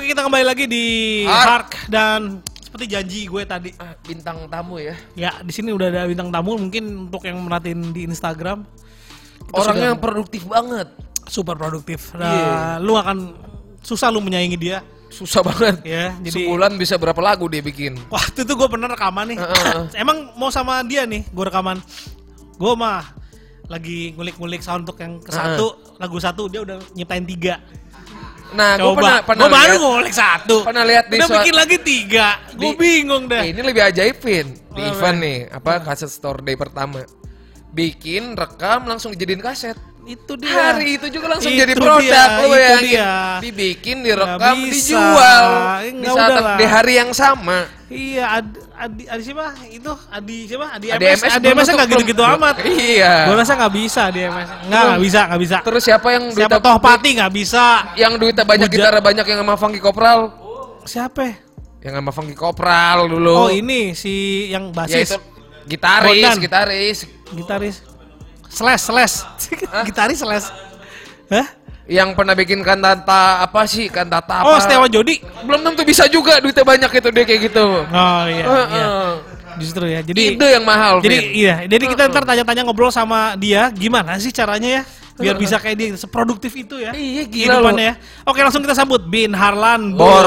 kita kembali lagi di Hark. Hark dan seperti janji gue tadi. Ah, bintang tamu ya. Ya, di sini udah ada bintang tamu mungkin untuk yang merhatiin di Instagram. Kita Orangnya sudah produktif banget. super produktif. Nah, Iya. lu akan susah lu menyaingi dia. Susah banget. Ya, jadi Sebulan bisa berapa lagu dia bikin? waktu itu gue pernah rekaman nih. Heeh. Emang mau sama dia nih, gue rekaman. Gue mah lagi ngulik-ngulik soundtrack yang ke satu, lagu satu dia udah nyiptain tiga. Nah, gue pernah Coba, pernah gue baru lihat- ngulik satu. pernah lihat di Udah soal- bikin lagi tiga, gue Di- bingung Eh, deh. ini lebih ajaib, Vin. Oh, Di iya. event nih, apa kaset store day pertama. Bikin, rekam, langsung dijadiin kaset. Itu dia. Hari itu juga langsung jadi Iya. Itu produk. ya. dia, Lo itu bayangin. dia. Dibikin, direkam, Nggak bisa. dijual. Eh, Di nggak saat udahlah. di hari yang sama. Iya, Ad- Adi, Adi siapa? Itu Adi siapa? Adi Ada MS. Adi MS nggak gitu-gitu amat. Iya. Gue rasa nggak bisa Adi MS. Nggak, nggak bisa, nggak bisa. Terus siapa yang Siapa duitnya- Tohpati nggak bisa. yang duitnya banyak, Buja- gitarnya banyak yang sama Funky Kopral? Siapa? ya? Yang sama Funky Kopral dulu. Oh ini si yang Ya itu basis, gitaris, Bondan. gitaris. gitaris. Slash, slash. gitaris slash. Hah? Yang pernah bikin kantata apa sih? Kantata apa? Oh, Setiawan Jodi. Belum tentu bisa juga duitnya banyak itu dia kayak gitu. Oh iya, iya. Heeh. Justru ya. Jadi Ide yang mahal. Jadi Vin. iya, jadi kita Hmm. ntar tanya-tanya ngobrol sama dia gimana sih caranya ya biar bisa kayak dia seproduktif itu ya. Hmm. Iya, gila kehidupannya lu. ya. Oke, langsung kita sambut Bin Harlan Bor.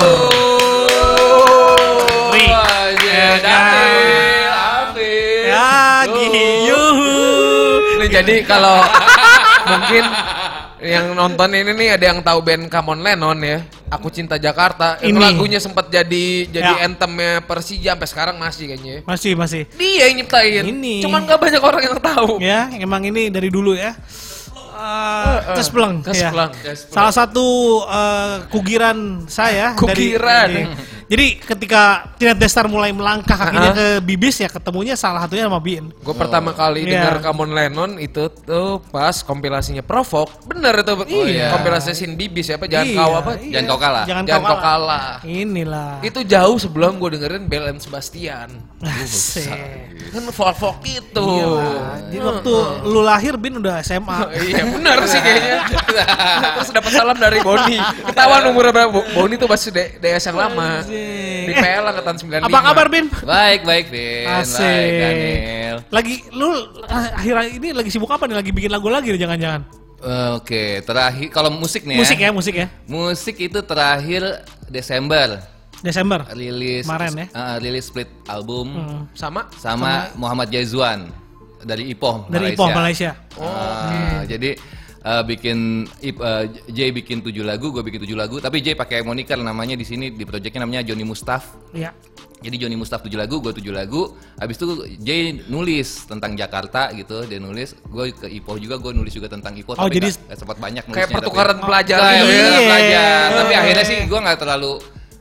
Ri. Oh, Aja, Daniel, Afif. Oh. Ya, Tuh. giyu. Ini jadi kalau mungkin yang nonton ini nih ada yang tahu band Come On Lennon ya. Aku Cinta Jakarta. Itu Ini. lagunya sempat jadi jadi Ya. anthemnya Persija sampai sekarang masih kayaknya. ya. Masih, masih. Dia yang nyiptain. Ini. Cuman gak banyak orang yang tahu. Ya, emang ini dari dulu ya. Eh, Uh, Cespleng, ya. Cespleng. Salah satu eh, kugiran saya. dari- Kugiran. iya. jadi ketika Tina Destar mulai melangkah kakinya ke Uh-uh. bibis ya ketemunya salah satunya sama Bin. Gue pertama kali Iya. denger Come On Lennon itu tuh pas kompilasinya Provok. Bener itu. Iya. Kompilasinya Sin Bibis ya, apa jangan Iya, kau apa? iya. Jangan kau kalah. Jangan, Jangan kau kau kalah. kalah. Inilah. Itu jauh sebelum gue dengerin Bell and Sebastian. Asik. Kan Provok itu. Iya, Jadi waktu lu lahir Bin udah SMA. Iya benar sih kayaknya. Nah, Terus dapat salam dari Boni. Ketahuan umurnya berapa? Bo- Boni tuh masih de- DS yang lama. Anjing. Di PL angkatan 95. Apa kabar Bin? Baik, baik, Vin. Baik, Iya, Daniel. Lagi lu ah, akhir ini lagi sibuk apa nih? Lagi bikin lagu lagi nih jangan-jangan. Eh, Oke, terakhir kalau musik nih ya. Musik ya, musik ya. Musik itu terakhir Desember Desember. rilis Kemarin ya. Hmm. eh, rilis split album Sama? sama Muhammad Jaizwan dari Ipoh, Dari Ipoh Malaysia. Oh, Ah, Jadi eh, bikin Ip, eh, Jay bikin tujuh lagu, gue bikin tujuh lagu. Tapi Jay pakai moniker namanya di sini di projectnya namanya Johnny Mustaf. Iya. Jadi Joni Mustaf 7 lagu, gue 7 lagu. Habis itu Jay nulis tentang Jakarta gitu, dia nulis. Gue ke Ipoh juga, gue nulis juga tentang Ipoh. Oh, jadi- nggak- nggak sempat banyak nulisnya. Kayak tapi- pertukaran pelajaran. Kayak gitu ya. pertukaran Iya. pelajar. Tapi Iya. akhirnya sih gue nggak terlalu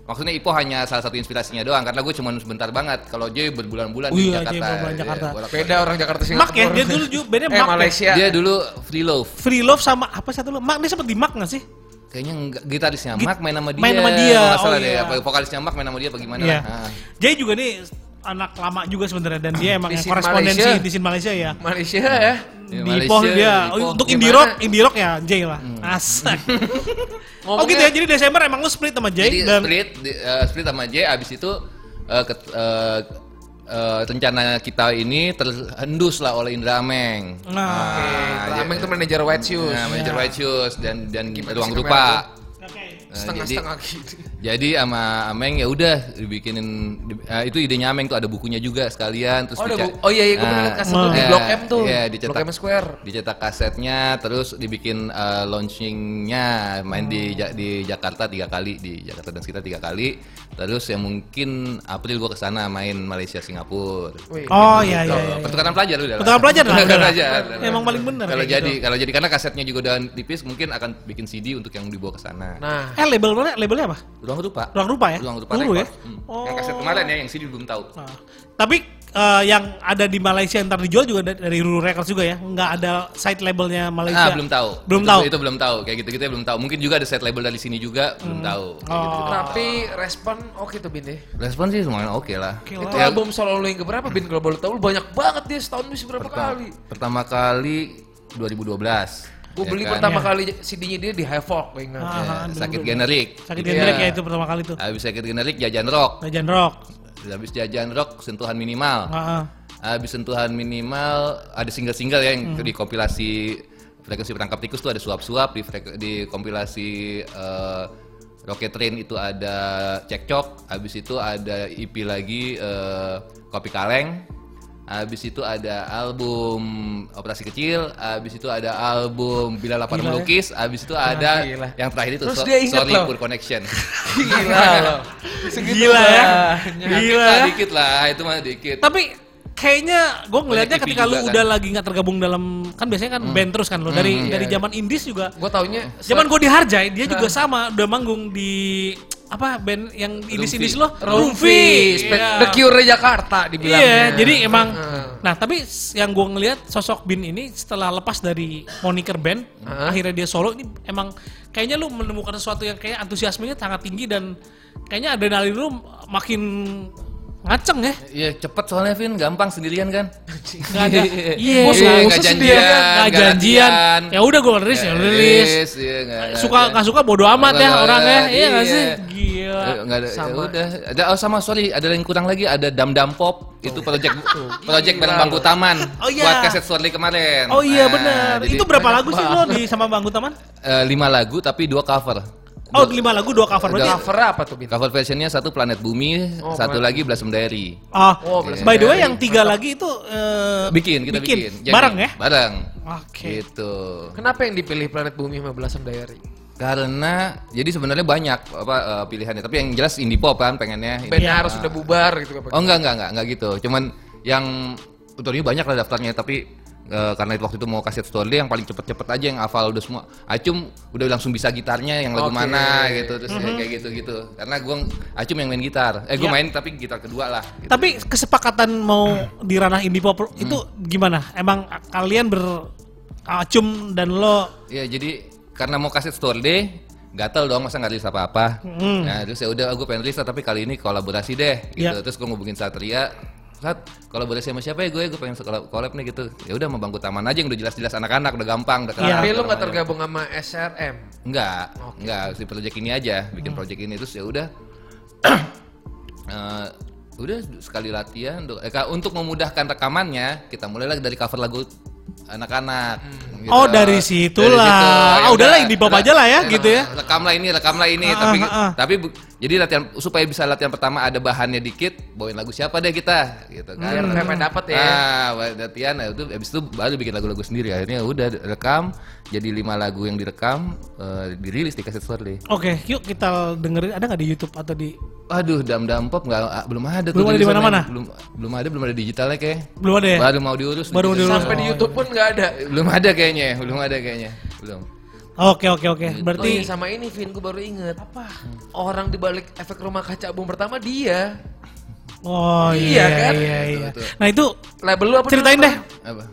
Maksudnya Ipoh hanya salah satu inspirasinya doang karena gue cuma sebentar banget. Kalau Jay berbulan-bulan Oh di iya, Jay Jakarta. berbulan-bulan Jakarta. bolak-balik. Beda orang Jakarta Singapura. Mak ya, dia dulu juga bandnya Eh Mak. ya. Malaysia. Dia dulu free love. Free Love sama apa satu lu? Mak dia sempet di Mak gak sih? Kayaknya enggak, gitarisnya Git- Mark main sama dia. main sama dia, Kalau nggak oh salah iya. deh, apa vokalisnya Mark main sama dia apa gimana Iya. lah. Ah. Jay juga nih anak lama juga sebenarnya dan dia emang Di yang scene korespondensi Malaysia. di scene Malaysia ya. Malaysia ya. Di Di Malaysia, Ipoh dia. di Hmm. Ipoh. Oh, untuk Gimana? indie rock, indie rock ya Jay lah. Asik. oh Ngomongnya- gitu ya. Jadi Desember emang lu split sama Jay Jadi dan split di- eh, split sama J abis itu eh, ket- eh, eh, rencana kita ini terhendus lah oleh Indra Ameng. Nah. Nah, Oke, dia- Ameng Iya, tuh manajer White Shoes. Iya, Iya. Nah, manajer White Shoes dan dan Gimana ruang sih rupa. kamera Oke. Nah, Setengah-setengah gitu. Jadi, jadi sama Ameng ya udah dibikinin di- eh, itu idenya Ameng tuh ada bukunya juga sekalian terus Oh, ada dica- bu- oh iya, iya, gue pernah Nah. liat kaset tuh di iya, Blok M tuh. Iya, Blok dicetak M Square. dicetak kasetnya terus dibikin eh, launchingnya main di Ja- di Jakarta tiga kali di Jakarta dan sekitar tiga kali terus ya mungkin April gua kesana main Malaysia Singapura Gitu. Wih. Oh iya iya iya. pertukaran pelajar udah lah. Pertukaran pelajar lah, pertukaran udah lah. pelajar Emang paling bener kalau kayak gitu. jadi kalau jadi karena kasetnya juga udah tipis mungkin akan bikin CD untuk yang dibawa ke sana Nah, Eh label mana? Labelnya apa? ruang rupa Ruang Rupa ya? ruang rupa Dulu ya? Record. Hmm. yang kaset kemarin ya yang CD belum tahu Nah, tapi eh, yang ada di Malaysia yang ntar dijual juga da- dari Ruru Records juga ya? Nggak ada side labelnya Malaysia? Ah, belum tahu. Belum Itu- tahu? Itu belum tahu. Kayak gitu-gitu ya belum tahu. Mungkin juga ada set label dari sini juga belum tahu. Kayak Oh. gitu-gitu. tapi respon oke tuh Bin ya. Respon sih semuanya oke lah. lah. Itu Ya, album solo lu yang keberapa Bin kalau boleh tahu? Lu banyak banget dia setahun bisa berapa kali? Pertama kali 2012. Gue beli kan? pertama kali CD-nya dia di Havoc, gue ingat. Iya, Ah, ah, Ya, sakit dulu. generik. Gitu Sakit Iya. gendrek ya itu pertama kali tuh. Habis sakit generik jajan rock. Legend Rock. Habis jajan rock sentuhan minimal. Ah, ah. Habis sentuhan minimal ada single-single ya yang Hmm. di kompilasi frekuensi perangkap tikus tuh ada suap-suap di frek- di kompilasi eh, Rocket Train itu ada cekcok, habis itu ada EP lagi eh, kopi kaleng, habis itu ada album operasi kecil, habis itu ada album bila lapar Gila ya. melukis, habis itu Ah, ada gila. yang terakhir itu Terus So- dia inget sorry loh. Poor connection. Gila loh. Segitu Gila ya. banyak. Gila Nah, ya. dikit lah, itu mah dikit. Tapi kayaknya gue ngelihatnya Banyak ketika TV lu juga, udah lagi nggak tergabung dalam kan biasanya kan band terus kan lo dari dari zaman indies juga. Gue taunya Zaman gue dihargai dia juga sama udah manggung di apa band yang indies indies lo Rumfi, Rumfi. Iya. The Cure Jakarta Iya, dibilangnya. Eh, jadi emang Heeh. nah tapi s- yang gue ngelihat sosok Bin ini setelah lepas dari moniker band akhirnya dia solo ini emang kayaknya lu menemukan sesuatu yang kayak antusiasmenya sangat tinggi dan kayaknya adrenalin lu makin ngaceng ya Iya cepet soalnya Vin, gampang sendirian kan. nggak ada iya Bos, nggak nggak khusus janjian, dia, nggak nggak kan? Nah, janjian latihan. ya udah gue rilis ya rilis iya, nggak- nggak- suka nggak suka bodo amat ya Nggak- orangnya nggak- iya nggak iya. sih gila Eh, nggak ada, ya Sama. udah. Ada oh sama sorry, ada yang kurang lagi ada Dam Dam Pop itu project project bareng Bangku Taman Oh, iya. buat kaset Sorli kemarin. oh iya Nah, benar jadi, itu berapa lagu sih lo di sama bangku taman eh, lima lagu tapi dua cover. oh lima lagu dua cover berarti Cover apa tuh Bin? Cover versionnya satu Planet Bumi, Oh, satu Planet lagi Blossom Diary. Ah, Oh, Blessing by the way Mary. yang tiga lagi itu eh, Bikin kita bikin, Jadi, bareng ya. Bareng. Oke. Gitu. Kenapa yang dipilih Planet Bumi sama Blossom Diary? Iya. Karena jadi sebenarnya banyak apa eh, pilihannya, tapi yang jelas indie pop kan pengennya. Bandnya harus udah bubar gitu apa? Oh enggak enggak enggak enggak gitu. Cuman yang tentunya banyak lah daftarnya tapi eh, karena waktu itu mau kaset story yang paling cepet-cepet aja yang hafal udah semua. Acum udah langsung bisa gitarnya yang lagu Oke. Mm-hmm. mana gitu terus ya, kayak gitu-gitu. Karena gua Acum yang main gitar. Eh gua Iya. main tapi gitar kedua lah. gitu. Tapi kesepakatan mau di ranah indie pop itu Hmm. gimana? Emang a- kalian ber Acum dan lo Iya jadi karena mau kaset store day gatel dong masa nggak rilis apa-apa. Nah terus ya udah gue pengen rilis lah, tapi kali ini kolaborasi deh gitu. Iya. Terus gue ngubungin Satria. Sat, kolaborasi sama siapa ya gue? Gue pengen kolab, kolab nih gitu. Ya udah sama Bangku Taman aja yang udah jelas-jelas anak-anak udah gampang iya. udah kelar. Tapi gitu lu gak namanya. tergabung sama SRM. Enggak, enggak si project ini aja, Hmm. bikin project ini terus ya udah. Eh, udah sekali latihan do- eh, ka- untuk memudahkan rekamannya, kita mulailah dari cover lagu anak-anak. gitu. Oh, dari situlah. Ah, udahlah, indie pop aja lah ya, gitu ya. Nah, Rekamlah ini, rekamlah ini, Ah, tapi ah, ah. tapi bu- jadi latihan supaya bisa latihan pertama ada bahannya dikit, bawain lagu siapa deh kita gitu Hmm. kan. Iya, Biar sampai dapet ya. Ah. Nah, latihan nah, itu habis itu baru bikin lagu-lagu sendiri. Akhirnya udah rekam jadi lima lagu yang direkam eh, dirilis di kaset Sorley. Oke, yuk kita dengerin ada nggak di YouTube atau di Aduh, dam dam pop nggak ah, belum ada tuh Belum ada di tulisannya. mana-mana? Belum belum ada, belum ada digitalnya kayak. belum ada ya? Baru mau diurus. Baru mau digital. diurus. Sampai di YouTube pun gak ada. Belum ada kayaknya, ya, belum ada kayaknya. Belum. Oke oke oke. Oh iya Berarti sama ini Vin, gue baru inget. Apa? Orang dibalik efek rumah kaca album pertama dia. oh iya Iya, kan? iya iya. Betul, betul. Nah itu Label lu apa? dulu? ceritain deh, Apa?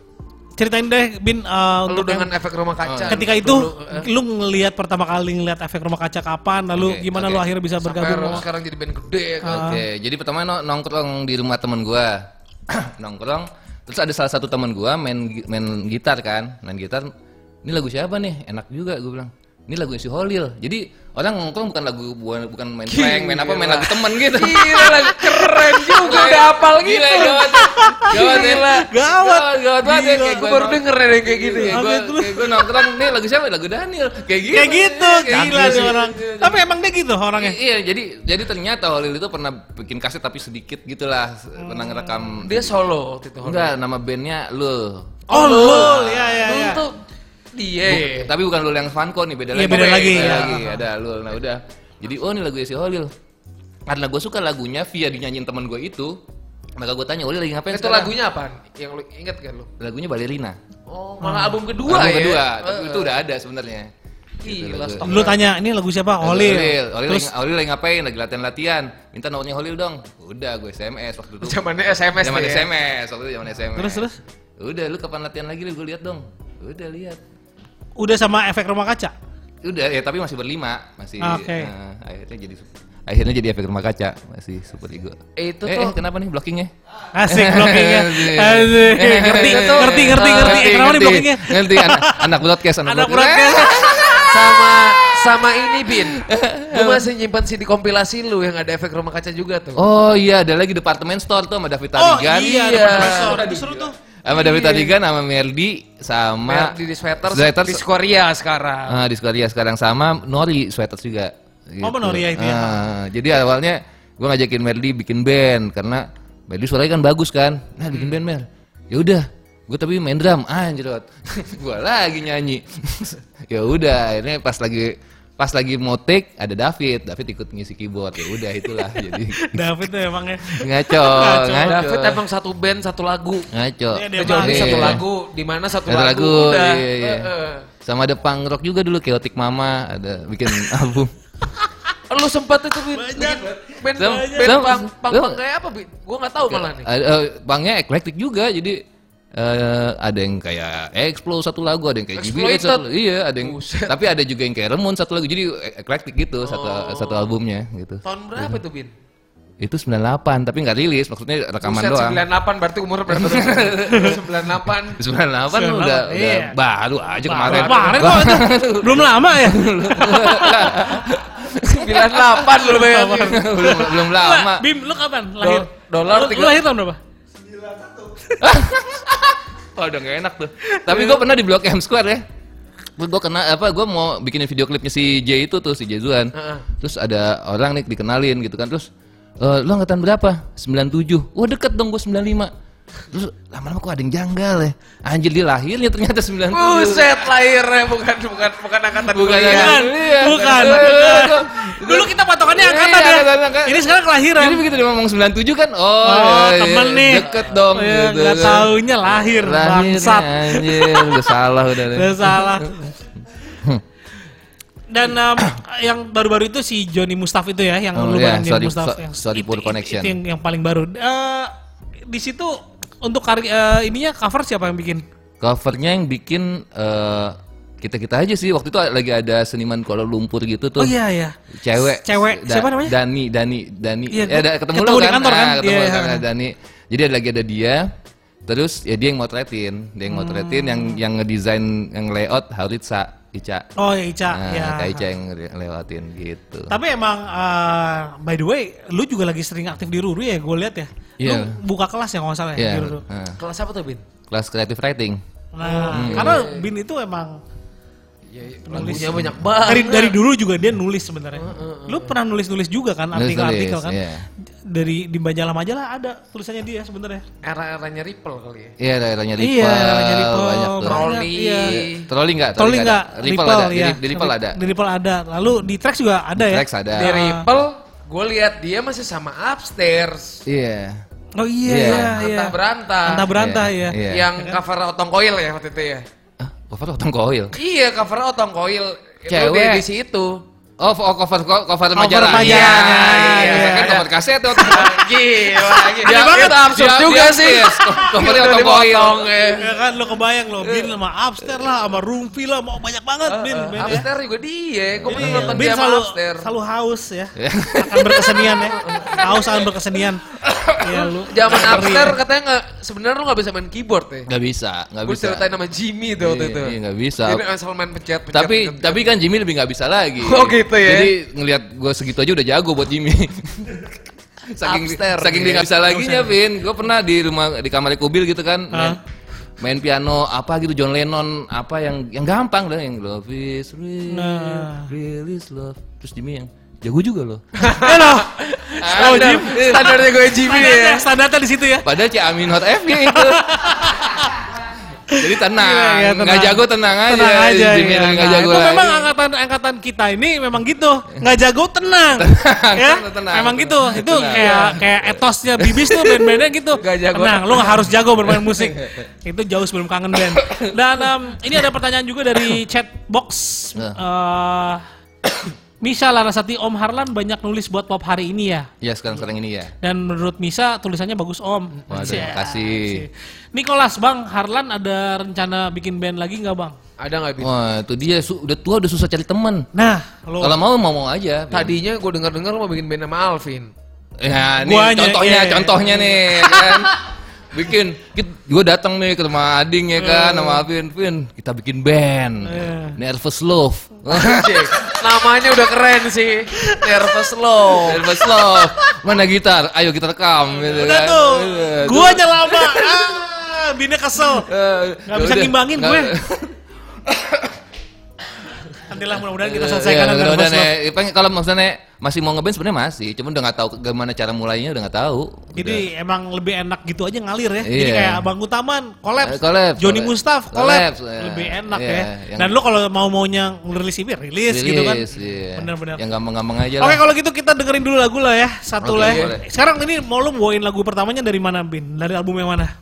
ceritain deh Bin eh, Lu kan? untuk yang- dengan efek rumah kaca. ketika Lu- itu lu- lu ngelihat pertama kali ngelihat efek rumah kaca kapan lalu Oke, gimana oke. lu akhirnya bisa Sampai bergabung sama- sekarang jadi band gede kan. Oke, jadi pertama no- nongkrong di rumah temen gua. nongkrong, terus ada salah satu temen gua main gi- main gitar kan, main gitar. Ini lagu siapa nih? Enak juga gua bilang. Ini lagu si Holil. Jadi orang nongkrong bukan lagu bukan bukan main prank, main apa, main lagu temen gitu. Gila lagu keren juga udah hafal gitu. Gila, gawat. Gawat, ya. Gawat. Gawat, gawat banget ya. Kayak Gue gua baru nong- denger ada yang kayak gitu ya. Oke, Gue terus. gue nongkrong nih lagu siapa? Lagu Daniel. Kayak gitu. Kayak gitu, Kayak gila gitu. nih orang. Tapi emang dia gitu orangnya. Iya, jadi jadi ternyata Holil itu pernah bikin kaset tapi sedikit gitulah, pernah ngerekam. Dia solo waktu itu. Enggak, nama bandnya Lul. Oh, lul, ya ya Lu ya. tuh dia. Bu- Tapi bukan Lul yang Vanko nih, beda Eh. Iya, lagi. beda lagi, ya. Ada Lul. Nah, udah. Jadi, oh ini lagu si Holil. Karena gue suka lagunya via dinyanyiin teman gue itu, maka gue tanya, Holil lagi ngapain Itu sekarang?" lagunya apa? Yang lu inget gak lu? Lagunya Balerina. Oh, malah album kedua Kedua, ya. kedua. Eh, Tapi itu udah ada sebenarnya. Gila, lagu. stok. Lu tanya, ini lagu siapa? Oli. Holil, Holil, Terus lagi- Holil lagi ngapain? Lagi latihan-latihan. Minta nomornya Holil dong. Udah, gue SMS waktu itu. Zamannya SMS Zaman tuh ya. SMS, waktu itu zaman SMS. Terus, terus? Udah, lu kapan latihan lagi? Lu gue lihat dong. Udah lihat. udah sama efek rumah kaca. Udah ya, tapi masih berlima, masih. Oke. eh, akhirnya jadi akhirnya jadi efek rumah kaca, masih super ego. Eh, itu eh, tuh- eh, kenapa nih blockingnya? Asik blockingnya. Asik. Asik. Ngerti, Eh, ngerti, ngerti, ngerti. Eh, Kenapa nih blockingnya? Ngerti, an- anak broadcast, anak, Anak broadcast. broadcast. sama sama ini Bin. Gue masih nyimpan CD kompilasi lu yang ada efek rumah kaca juga tuh. Oh iya, ada lagi departemen store tuh sama David Oh Tarigan. iya, ada Iya. profesor. Aduh, seru tuh. Sama David Tarigan, sama Merdi, sama... Merdi di sweater, Sweaters. di Korea sekarang. Ah, di Skodia sekarang sama Nori Sweaters juga. gitu. Oh, sama Nori ya itu ya. Ah, jadi awalnya gue ngajakin Merdi bikin band karena Merdi suaranya kan bagus kan. Nah Hmm. bikin band Mer. Ya udah, gue tapi main drum. Ah, anjir. gue lagi nyanyi. ya udah, akhirnya pas lagi pas lagi mau take ada David. David ikut ngisi keyboard. Ya udah itulah. jadi David tuh emangnya. ngaco, Ngaco. ngaco. David emang satu band satu lagu. ngaco. Dia Dia Dia jadi main. satu Iya. lagu, di mana satu, Satu lagu, lagu, udah. iya, iya. Heeh. Sama ada punk rock juga dulu Chaotic Mama ada bikin album. Lu sempat itu Bin. Banyak. Band, Sem- band sem- pang, pang, lu- pang kayak apa Bin? Gue gak tahu malah nih. Ada eh, banknya eklektik juga, jadi eh, ada yang kayak Explo satu lagu, ada yang kayak GBH satu lagu. Iya, ada yang tapi ada juga yang kayak Remon satu lagu. Jadi ek- eklektik gitu satu satu albumnya gitu. Tahun berapa itu Bin? Itu 98 tapi nggak rilis, maksudnya rekaman Buset, doang. 98 berarti umur berapa? 98. 98, udah, udah iya. baru aja kemarin. Kemarin kok itu. Belum lama ya. 98 lu bayangin. belum belum lama. Bim, lu kapan lahir? dolar Lu- tiga- Lu lahir tahun berapa? Oh, udah gak enak tuh. Tapi gue pernah di Blok M Square ya. Gue kena apa? Gue mau bikinin video klipnya si J itu tuh si Jezuan. Terus ada orang nih dikenalin gitu kan. Terus e, lu angkatan berapa? 97. Wah deket dong gue 95. Terus lama-lama kok ada yang janggal ya. Anjir dia lahirnya ternyata 90. Buset lahirnya bukan bukan bukan angkatan Bukan kuliah. angkatan. Bukan, Iya. bukan. Iya, iya, iya. Dulu kita patokannya Iya, angkatan ya. angkatan, angkatan. Ini sekarang kelahiran. Jadi begitu dia ngomong 97 kan, oh, Oh, iya, temen iya, nih. deket dong Oh, iya, gitu. Nggak kan. taunya lahir, Lahirnya, bangsat. Anjir, udah salah udah. deh. Udah salah. Dan um, yang baru-baru itu si Joni Mustaf itu ya, yang Oh, lu iya, bareng Joni sorry, Mustaf. so- yang- sorry, poor connection. Itu yang, yang paling baru. Eh, di situ untuk kari, eh, ininya cover siapa yang bikin? Covernya yang bikin kita kita aja sih waktu itu lagi ada seniman Kuala Lumpur gitu Oh tuh. iya ya. Cewek. Cewek. Siapa namanya? Dani, Dani, Dani. Iya, Ya, ada- ketemu, ketemu lu di kan? kantor kan? Ah, ketemu Iya, di iya. kantor Dani. Jadi ada lagi ada dia. Terus ya dia yang motretin, dia yang motretin yang Hmm. yang ngedesain yang layout Haritsa Ica. Oh ya Ica. Nah, ya. Kak Ica yang ngere- lewatin gitu. Tapi emang eh, by the way, lu juga lagi sering aktif di Ruru ya, gue lihat ya. Iya. Lu buka kelas ya kalau nggak salah ya Iya, di Ruru. nah, Kelas apa tuh Bin? kelas creative writing. Nah, Hmm. karena Bin itu emang Ya, Lagunya banyak banget. dari dari dulu juga dia nulis sebenarnya. Lu pernah nulis-nulis juga kan Nulis-nulis, artikel-artikel kan? iya. Dari di Majalah Majalah ada tulisannya dia sebenarnya. Era-eranya Ripple kali ya. Iya, daerahnya Ripple. Iya, daerahnya Ripple, banyak tuh. banyak. Trolli. iya. Trolling enggak? Toli enggak? Ripple, ada. Di- ya. Di, Ripple ada. Di Ripple ada. Lalu di Trax juga ada ya? Trax ada. Di Ripple gue lihat dia masih sama upstairs. Iya. Oh iya, iya, Iya. iya. Ah, Antah kan? berantah. Antah berantah ya. Iya, iya. Yang cover otong koil ya waktu itu ya. Ah, cover otong koil. Iya cover otong koil. Itu di Cewek. edisi itu. Oh, oh, cover cover, cover majalah, majalah. Iya, iya. iya. Kan cover kaset tuh. Gila, gila. Dia- Itu dia- absurd dia- juga dia- sih. yes, covernya Udah otong koil. dipotong, ya. Ya kan lo kebayang lo, Bin sama Upstairs lah, sama Rumpi lah, mau banyak banget Bin. Bin ya. Upstairs juga dia, gue pernah Iya, nonton Iya. Bin dia sama selalu, upstairs. selalu haus ya. akan berkesenian ya. Haus akan berkesenian. Ya lu. Zaman ngeri upstairs ya. katanya nggak, sebenarnya lu nggak bisa main keyboard ya. Enggak bisa, enggak Gue bisa. ceritain sama Jimmy tuh waktu Iya, itu. iya, nggak bisa. Jadi asal main pencet, pencet. Tapi pencet. tapi kan Jimmy lebih nggak bisa lagi. Oh, gitu ya. Jadi ngelihat gue segitu aja udah jago buat Jimmy. saking Upstairs, saking dia nggak bisa lagi ya, Vin. Gue pernah di rumah di kamar kubil gitu kan. Main, main piano apa gitu John Lennon apa yang yang gampang lah yang love is real, Nah. real is love. Terus Jimmy yang jago juga loh. Eh lo. standar, standarnya gue Jimmy Oh, ya. Standarnya, standarnya di situ ya. Padahal Cik Amin Hot F nya itu. Jadi tenang, Iya, iya, tenang. nggak jago tenang aja. Tenang aja. Jimmy iya. yang nggak Nah, jago. itu memang lagi. angkatan angkatan kita ini memang gitu. Nggak jago tenang. Tenang, ya? tenang, Memang tenang. gitu. Itu Tenang. kayak kayak etosnya Bibis tuh band-bandnya gitu. Nggak jago. Tenang, lu nggak harus jago bermain musik. itu jauh sebelum kangen band. Dan em, ini ada pertanyaan juga dari chat box. Nah. Eh, Misha Larasati Om Harlan banyak nulis buat pop hari ini ya. Ya sekarang sekarang ini ya. Dan menurut Misa tulisannya bagus Om. Waduh, Cia. kasih. Nikolas Bang, Harlan ada rencana bikin band lagi nggak Bang? Ada nggak bisa? Wah, itu dia su- udah tua udah susah cari teman. Nah, lo Kalau mau mau mau aja. Tadinya gue dengar-dengar lu mau bikin band sama Alvin. Ya, nih Guanya, contohnya, iya. contohnya nih kan. bikin gue datang nih ke rumah Ading ya Iya. kan sama Alvin Vin kita bikin band Nervous Love Anjing, Iya. Namanya udah keren sih. Nervous low. Nervous Love mana gitar ayo kita rekam gitu Udah kan tuh, Iya, gua nyelama. Ah, bini kesel. Eh, Nggak ya bisa udah. ngimbangin Nggak- gue. Nantilah mudah-mudahan kita selesaikan Iya, dengan mudah-mudahan, Bos Lop. Nek. Pengen- kalau maksudnya Nek, masih mau ngeband sebenarnya masih, cuman udah nggak tahu gimana cara mulainya udah nggak tahu. Jadi emang lebih enak gitu aja ngalir ya. Jadi Iya. kayak Abang Utaman, collab, Eh, collab, Joni collab. Mustaf, collab, Collab, iya. lebih enak Iya, ya. yang- Dan lo kalau mau maunya ngerilis ini rilis, gitu kan. Bener-bener. Bener-bener. iya. Yang gampang-gampang aja Oke lah. kalau gitu kita dengerin dulu lagu lah ya, satu Oke, lah. ya. boleh. Sekarang ini mau lo bawain lagu pertamanya dari mana Bin? Dari album yang mana?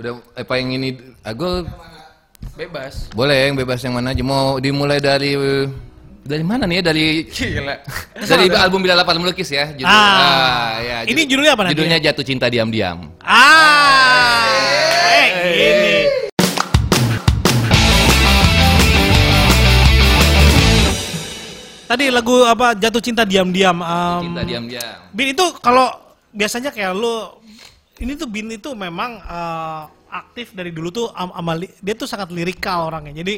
Udah apa yang ini ah, aku Bebas. boleh yang bebas yang mana aja mau dimulai dari dari mana nih ya dari Gila. dari album Bila Lapar Melukis ya. Judul, Ah. ya, Ini judul- judulnya apa nanti? Judulnya Jatuh Cinta Diam-Diam. Ah, eh, ini. Tadi lagu apa jatuh cinta diam-diam. Jatuh em, Cinta Diam-Diam. Bin itu kalau biasanya kayak lu ini tuh Bin itu memang eh, aktif dari dulu tuh am- ama li- dia tuh sangat lirikal orangnya. Jadi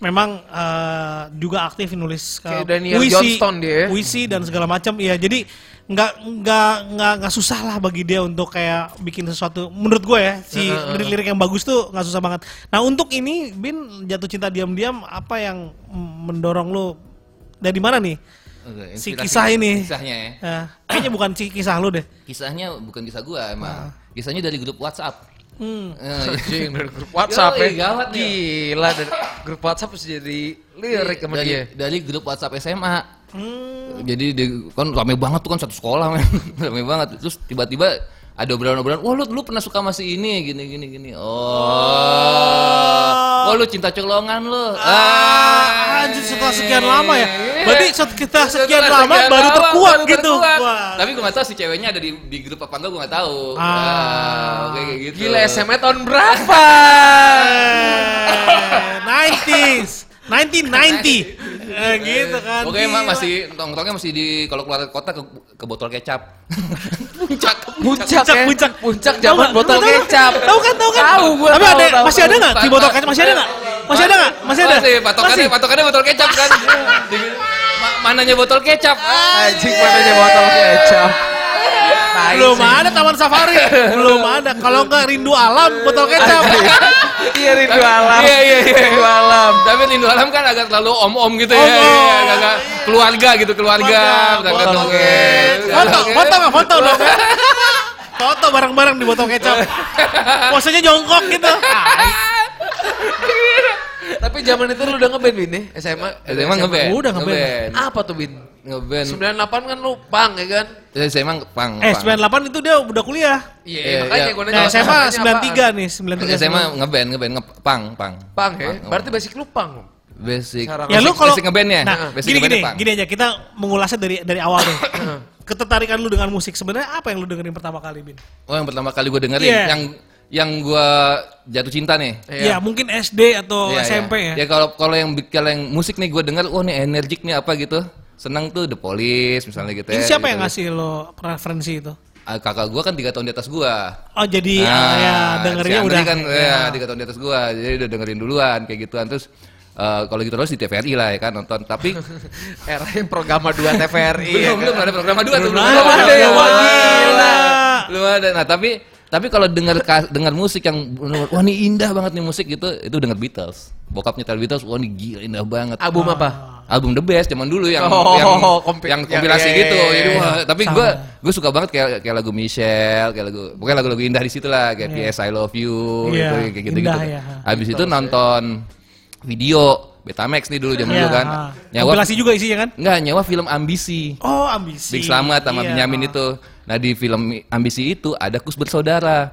memang eh, juga aktif nulis eh, Kayak Daniel Johnston dia ya. puisi dan segala macam. Iya, jadi nggak nggak nggak nggak susah lah bagi dia untuk kayak bikin sesuatu. Menurut gue ya si lirik-lirik yang bagus tuh nggak susah banget. Nah untuk ini Bin jatuh cinta diam-diam apa yang mm, mendorong lu dari mana nih? Oke, Si inspirasi- kisah ini. Kisahnya ya. Eh, kayaknya bukan si kisah lu deh. Kisahnya bukan kisah gua emang. Kisahnya dari grup WhatsApp. Ah. Hmm. Eh, Anjing dari Iya, grup WhatsApp ya. Yoi, gawat nih. Gila dari grup WhatsApp terus jadi Iya, lirik sama dari, dia. dari grup WhatsApp SMA. Hmm. Jadi di- kan rame banget tuh kan satu sekolah men. rame banget. Terus tiba-tiba ada obrolan-obrolan, "Wah, lu dulu pernah suka sama si ini gini gini gini." Oh. Wah, lu cinta colongan lu. Ah, anjir setelah sekian lama ya. Berarti set- kita sekian Setelah lama baru lama, terkuak baru gitu. terkuak. Wah. Ah. Tapi gua gak tahu si ceweknya ada di, di grup apa enggak gua gak tahu. Ah. oke, kayak gitu. Gila SMA tahun berapa? Eh, 90s. 1990. Eh, gitu kan. Oke, emang masih nongkrongnya masih di kalau keluar kota ke, ke botol kecap. puncak. Puncak, Puncak, ya. puncak. Puncak Tahu zaman nggak? botol Tahu nggak? kecap. Tahu kan, tahu kan? Tahu gua. Tapi tahu, ada tahu, masih tahu. ada enggak di botol kecap? Masih ada enggak? Masih ada enggak? Masih ada. Masih patokannya patokannya botol kecap kan. Di- ma- mananya botol kecap. Ah. Eh, Anjing mana aja botol kecap. Tai Belum sih. ada taman safari, belum ada. Kalau enggak rindu alam botol kecap. Iya rindu alam. Iya, iya, iya. Rindu alam. Tapi Rindu Alam kan agak terlalu om-om gitu ya. Om-om. Iya, agak keluarga gitu, keluarga. Berangkat botol dulu. kecap. Foto, foto nggak foto dong? Foto bareng-bareng di botol kecap. Posenya jongkok gitu. Ah, Tapi zaman itu lu udah ngeband Bin ya? SMA. Eh, Emang ngeband. Udah ngeband. Apa tuh Bin? Ngeband. 98 kan lu pang ya kan? Jadi saya emang pang. Eh, 98 itu dia udah kuliah. Iya, Iya, makanya iya. gua nanya Nah, SMA makanya apaan? 93 nih, 93. SMA ngeband, ngeband, ngepang, pang. Pang ya? Berarti basic lu pang. Basic. Sarang. Ya lu basic- kalau basic ngebandnya. Nah, Basic gini gini, ngebandnya punk. gini aja kita mengulasnya dari dari awal deh. Ketertarikan lu dengan musik sebenarnya apa yang lu dengerin pertama kali, Bin? Oh, yang pertama kali gue dengerin Iya. yang yang gue jatuh cinta nih. Ya, mungkin SD atau Iya, SMP iya. ya. Ya kalau kalau yang kalau yang musik nih gue denger, oh nih energik nih apa gitu. Senang tuh The Police misalnya gitu Ini ya. siapa gitu. yang ngasih lo referensi itu? Ah, kakak gue kan tiga tahun di atas gue. Oh, jadi ah, ya dengerinnya udah Nah, Iya. kan ya, tiga tahun di atas gue, jadi udah dengerin duluan kayak gituan terus. eh, kalau gitu terus di TVRI lah ya kan nonton tapi Era yang programa 2 TVRI. ya belum kan? belum ada program dua tuh belum ada, ada ya Iya, belum Wah, ada. gila. belum ada nah tapi tapi kalau dengar ka- dengar musik yang bener-bener, wah ini indah banget nih musik gitu itu denger Beatles bokap nyetel Beatles wah ini gila indah banget Ah. Album apa? album The Best zaman dulu yang Oh, yang, kompi- yang ya, kompilasi yang- iya, gitu. iya, iya, Jadi, iya. wah, tapi gue gue suka banget kayak kayak lagu Michelle, kayak lagu pokoknya lagu-lagu indah di situ lah kayak PS I Love You Iya, gitu kayak gitu-gitu. indah ya. Habis itu nonton video Betamax nih dulu zaman Iya, dulu kan. ah. Nyawa Kompilasi juga isinya kan? enggak nyawa film Ambisi. Oh, ambisi. Bing Slamet sama Iya. Benyamin itu. Nah, di film Ambisi itu ada Kus Bersaudara.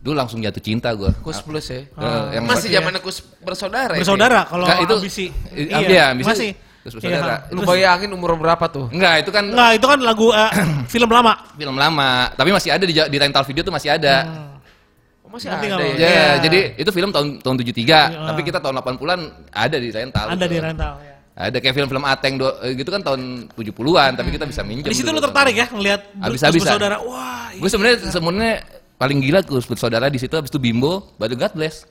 Dulu langsung jatuh cinta gue. Kus plus ya. Ah. yang Masih zaman kus bersaudara ya? Bersaudara kalau Iya. Nggak, itu, itu- ambisi. i- iya, ambisi. Masih. Terus bersaudara. ya. Iya. Lu bayangin umur berapa tuh? Enggak, itu kan Nggak, itu kan lagu eh, film lama. film lama, tapi masih ada di, di rental video tuh masih ada. Oh, Masih Nanti ada nggak ya? apa-apa. Ya, Iya. jadi itu film tahun tahun 73, tapi kita tahun 80-an ada di rental. Anda di Gitu. rental. ya. Ada kayak film-film Ateng do- eh, gitu kan tahun 70-an, tapi kita bisa minjem. Di situ dulu. lu tertarik ya ngelihat Habis-habisan. saudara. Wah, iya. Gue sebenarnya sebenarnya paling gila gue Split Saudara di situ habis itu Bimbo baru God Bless.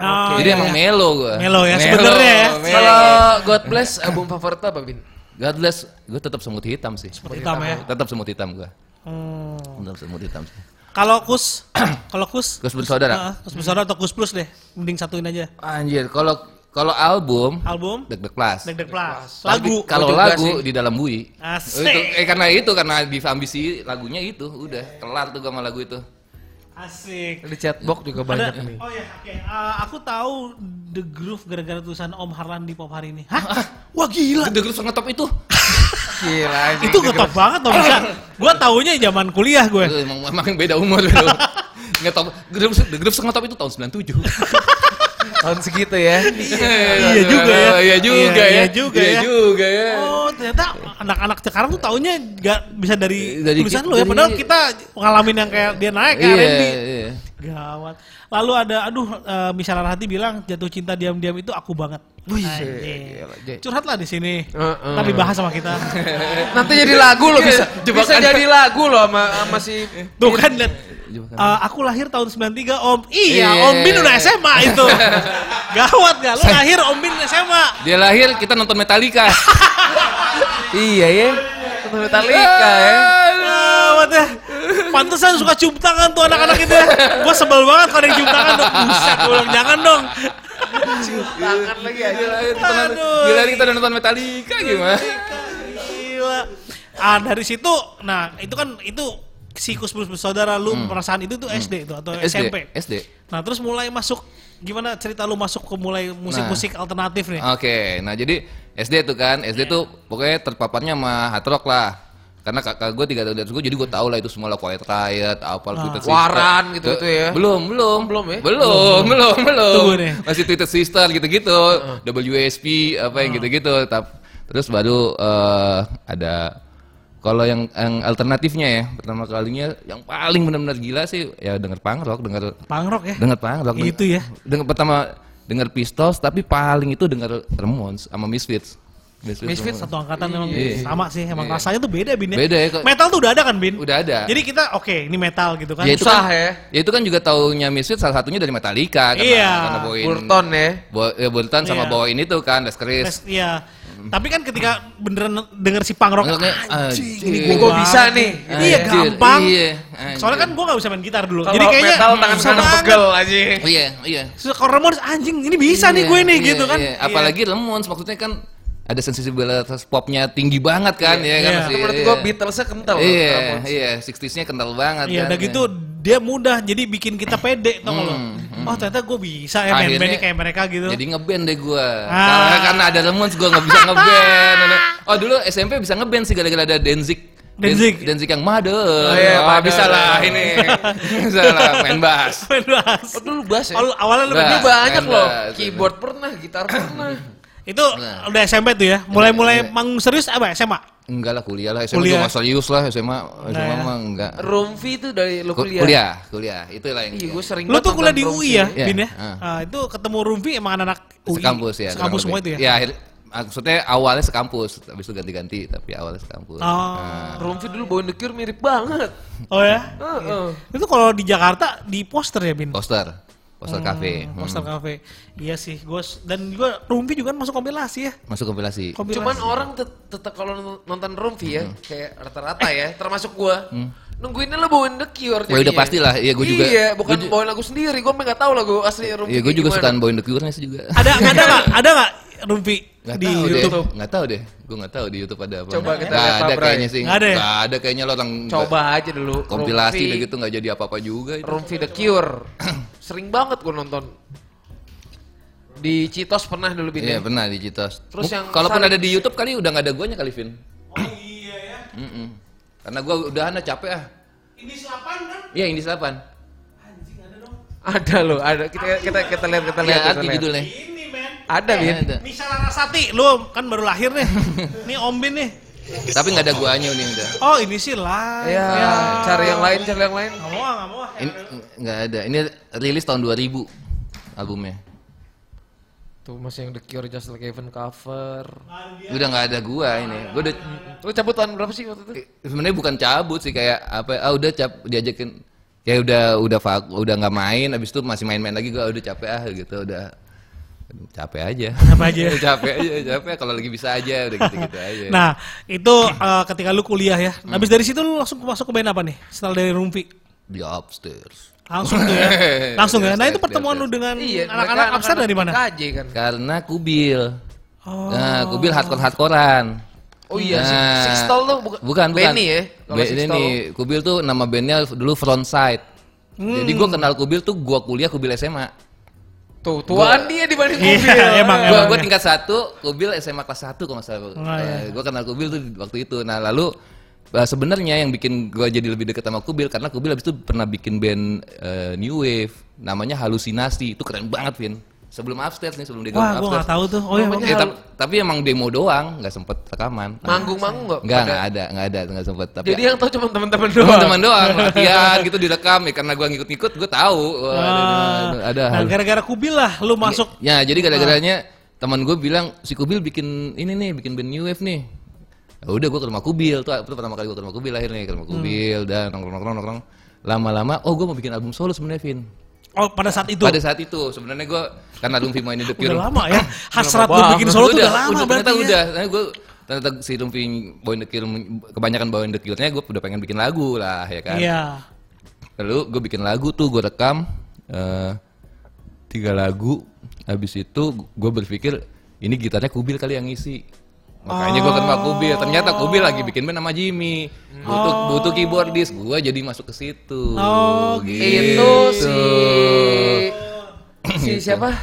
Ah, Jadi iya, emang iya. melo gue. Melo ya, sebenarnya ya. Kalau Eh. God Bless album favorit lo apa Bin? God Bless gue tetap semut hitam sih. Seperti hitam ya. Tetap semut hitam gue. Hmm. Tetap semut hitam sih. Kalau kus, kalau kus, Gue Split Saudara. Heeh, kus besar atau kus plus deh, mending satuin aja. Anjir, kalau kalau album Album, Deg Deg Plus. deg deg plus, Tapi lagu, Kalau juga lagu di dalam bui. asik, Itu, eh karena itu karena di ambisi lagunya itu udah kelar tuh sama lagu itu. asik. Di chatbox juga Ada, banyak nih. oh ya, oke. Eh, aku tahu The Groove gara-gara tulisan Om Harlan di pop hari ini. Hah? Wah gila. The Group ngetop itu. Gila anjing. Itu ngetop banget loh bisa. Gua taunya zaman kuliah gue. Itu emang, emang beda umur beda umur. Ngetop The Group The Group ngetop itu tahun 97. Tahun segitu ya. Iya juga ya. Iya juga Iya, ya. iya juga ya. juga ya. Oh ternyata anak-anak sekarang tuh taunya nggak bisa dari, Dari tulisan kita- lo ya. dari- Padahal kita ngalamin yang kayak dia naik kayak Iya, Randy. iya. Gawat. Lalu ada, aduh, eh, misalnya Hati bilang jatuh cinta diam-diam itu aku banget. Wih, Anjing. gila, Jay. Curhatlah di sini. Heeh. Tapi bahas sama kita. Nanti jadi lagu lo bisa. Bisa Jebakan. jadi lagu lo sama sama si Tuh kan lihat. Jebakan. Eh, aku lahir tahun 93 Om. Iya, Iya. Om Bin udah SMA itu. Gawat gak? Lu lahir Om Bin SMA. Dia lahir kita nonton Metallica. Iya ya. Metallica ya. Iya. Gawat ya. Pantesan suka cium tangan tuh anak-anak itu. Gue sebel banget kalau ada yang cium tangan tuh. Buset, gue bilang jangan dong. Tangan lagi Dia lahir kita nonton- Aduh. dia lahir kita udah nonton Metallica gimana? Gila. Ah, dari situ, nah itu kan itu sikus plus bersaudara lu Hmm. perasaan itu tuh SD itu atau SMP. SD. Nah terus mulai masuk gimana cerita lu masuk ke mulai Nah. musik-musik alternatif nih? Oke, nah jadi SD tuh kan, SD tuh pokoknya terpaparnya sama hard rock lah. Karena kakak gue tiga tahun di atas gue, jadi gue tau lah itu semua lah Quiet Riot, apa Twitter Sister. Waran gitu-gitu ya. Belum, belum. Belum ya? Belum, belum, belum. Tunggu nih. Masih Twitter Sister gitu-gitu. WSP, apa yang gitu-gitu. Tap- Terus baru eh, ada... Kalau yang, yang alternatifnya ya, pertama kalinya yang paling benar-benar gila sih ya denger punk rock, denger Pangrok ya? Eh, Dengar pang, rock Itu ya. Dengar pertama dengar Pistols tapi paling itu dengar Ramones sama Misfits. Misfits sama- satu angkatan memang sama sih, emang rasanya tuh beda Bin ya. Iya. Beda ya, kok. Metal tuh udah ada kan Bin? udah ada. Jadi kita oke, ini metal gitu kan. ya itu Susah kan, ya. ya itu kan juga taunya Misfits salah satunya dari Metallica karena Iya. karena bawain Burton ya. bawa- ya, Burton sama Iya. bawain itu kan Les Chris. Tes- Iya. Tapi kan ketika beneran denger si punk rock, Anggapnya, anjing, anjing, ini Gua, gua, gua bisa banget." nih. Iya Ah, Anjir, gampang. Iya. anjir. Soalnya kan gua gak bisa main gitar dulu. Kalau Jadi kayaknya metal tangan susah kanan banget. pegel aja. Oh, iya, iya. Susah, Kalau Ramones anjing, ini bisa nih Iya, gue nih iya, gitu kan. iya. Iya. Apalagi Ramones maksudnya kan ada sensibilitas popnya tinggi banget kan ya kan Iya. masih- Itu menurut gua iya. Beatlesnya kental. loh, Iya, Ramones. iya, 60-nya kental banget Iya, kan. udah gitu dia mudah jadi bikin kita pede tau kalau. Oh ternyata gue bisa ya Hmm, Akhirnya- band-bandnya kayak mereka gitu. Jadi ngeband deh gua. Ah. Karena, karena ada Ramones gua nggak bisa ngeband. Oh dulu SMP bisa ngeband sih gara-gara ada Danzig. Danzig? Dan- Danzig yang Ah, mother. Oh iya, Pak, Mother. bisa lah ini. bisa lah main bass. Main bass. Oh, dulu bass kan ya. Awal- awalnya lu Bass. Dulu berdua banyak Main loh. bass. Keyboard pernah, gitar pernah. Itu udah SMP tuh Iya, ya. Mulai-mulai manggung serius apa SMA? Enggak lah kuliah lah SMA Kuliah. juga nggak serius lah SMA SMA ya. mah enggak. Rumfi itu dari lu Ku- kuliah. Kuliah, kuliah. Itulah yang. Iya, gua sering Lu tuh banget kuliah di nonton UI ya, Iya, Bin ya? ah. Ah, itu ketemu Rumpi emang anak-anak UI. Sekampus ya. Sekampus semua kurang itu lebih. ya. Iya, akhir- maksudnya awalnya sekampus, habis itu ganti-ganti, tapi awalnya sekampus. Oh. Ah. Rumfi dulu bawain The Cure mirip banget. Oh ya. Iya. Heeh. Itu kalau di Jakarta di poster ya, Bin. Poster, poster kafe. Hmm. Oh, Poster cafe. Iya sih, gue dan juga Rumpi juga kan masuk kompilasi ya. Masuk kompilasi. Kompilasi. Cuman orang tet- tetap kalau nonton- nonton Rumfi ya, Hmm. kayak rata-rata ya, termasuk gua. Nungguinnya lo bawain The Cure. Ya udah pastilah, iya, gua juga- Iya, bukan bawain lagu sendiri, gua emang gak tau lagu asli Rumfi. Iya, gue kayak juga gimana. sukaan Boy The Cure-nya sih juga. ada ada nggak ada nggak Rumpi Nggak di tahu YouTube? Deh. Nggak tahu deh. Gue nggak tahu di YouTube ada apa. Coba kita Nggak lihat, ada Pak Bray. kayaknya sih. Nggak ada ya? Nggak ada kayaknya lo orang nggak- Coba aja dulu. kompilasi Rumfi- udah gitu nggak jadi apa-apa juga. itu. Rumfi The Cure. Sering banget gua nonton. Di Citos pernah dulu Bin. ya? Iya pernah di Citos. Terus yang kalaupun saling- ada di YouTube kali udah nggak ada guanya kali Vin. Oh iya ya. Karena gue udah anda capek ah. Ini 8 kan? Iya ini 8. Ada loh, ada. Kita kita kita lihat kita Iya lihat. kita arti lihat. judulnya. Iya, Ini men. Ada Bin. Ada. Nisa Larasati, lu kan baru lahir nih. nih Om Bin nih. Tapi nggak ada guanya ini udah. Oh ini sih live. Ya, cari yang lain, cari yang lain. Nggak mau, ah, nggak mau. ah. Ini nggak ada. Ini rilis tahun 2000 albumnya. Tuh masih yang The Cure Just Like Heaven cover. Udah nggak ada gua ini. Gue udah Lu cabut tahun berapa sih waktu itu? ya, sebenarnya bukan cabut sih kayak apa ah udah cap diajakin ya udah udah vak- udah nggak main abis itu masih main-main lagi gue udah capek ah gitu udah aduh, capek aja Capek aja. capek aja capek kalau lagi bisa aja udah gitu-gitu aja Nah, itu eh, ketika lu kuliah ya. Habis dari situ lu langsung masuk ke band apa nih? Setelah dari Rumpi. di upstairs Langsung tuh ya. Langsung ya. Nah, itu pertemuan lu dengan anak-anak Iya, mereka upstairs dari mana? IKJ kan. karena kubil Oh. nah kubil hardcore hardcorean Oh iya sih. Nah, Sixtol tuh bukan bukan bukan Benny ya. Kalau Be- Sixtol. Benny. Kubil tuh nama bandnya dulu Frontside Hmm. jadi gua kenal Kubil tuh gua kuliah Kubil SMA Tuh, tuaan dia dibanding Iya, mobil. emang, gua, emang. gua tingkat satu, Kubil SMA kelas 1 kalau nggak Oh, salah. iya. Eh, Gua kenal Kubil tuh waktu itu. Nah, lalu eh, sebenarnya yang bikin gua jadi lebih dekat sama Kubil karena Kubil habis itu pernah bikin band eh, new wave namanya Halusinasi. Itu keren banget, Vin. Sebelum upstairs nih, sebelum dia Wah, gabung gua nggak tahu tuh. Oh iya. Eh, tap- tapi emang demo doang, nggak sempet rekaman. Manggung-manggung enggak? Enggak, enggak ada, enggak ada, enggak sempet. Tapi Jadi yang tahu cuma teman-teman doang. teman-teman doang latihan gitu direkam ya karena gua ngikut-ngikut gua tahu Wah, ada, ada, Ah. Nah, Halu- gara-gara kubil lah lu masuk. Ya, jadi gara-garanya Ah. teman gue bilang si Kubil bikin ini nih, bikin band New Wave nih. Ya udah gue ke rumah Kubil tuh, itu pertama kali gue ke rumah Kubil akhirnya ke Hmm. rumah Kubil dan nongkrong-nongkrong nongkrong. Lama-lama, oh gue mau bikin album solo sebenarnya Vin. Oh, pada saat itu. Pada saat itu sebenarnya gue karena Lumpi main di Udah Pure. lama ya. Hasrat lu bikin solo tuh udah lama berarti. ya. ternyata udah. Ternyata gue ternyata si Lumpi Boy in the Kill kebanyakan Boy in the Kill-nya gue udah pengen bikin lagu lah ya kan. Iya. Lalu gue bikin lagu tuh, gue rekam eh, tiga lagu. Habis itu gue berpikir ini gitarnya Kubil kali yang ngisi. Makanya gue kenal Kubil. Ternyata Kubil lagi Oh. bikin band sama Jimmy. Hmm. Butuh butuh keyboardis. Gue jadi masuk ke situ. Gitu. Oh, Itu si si siapa?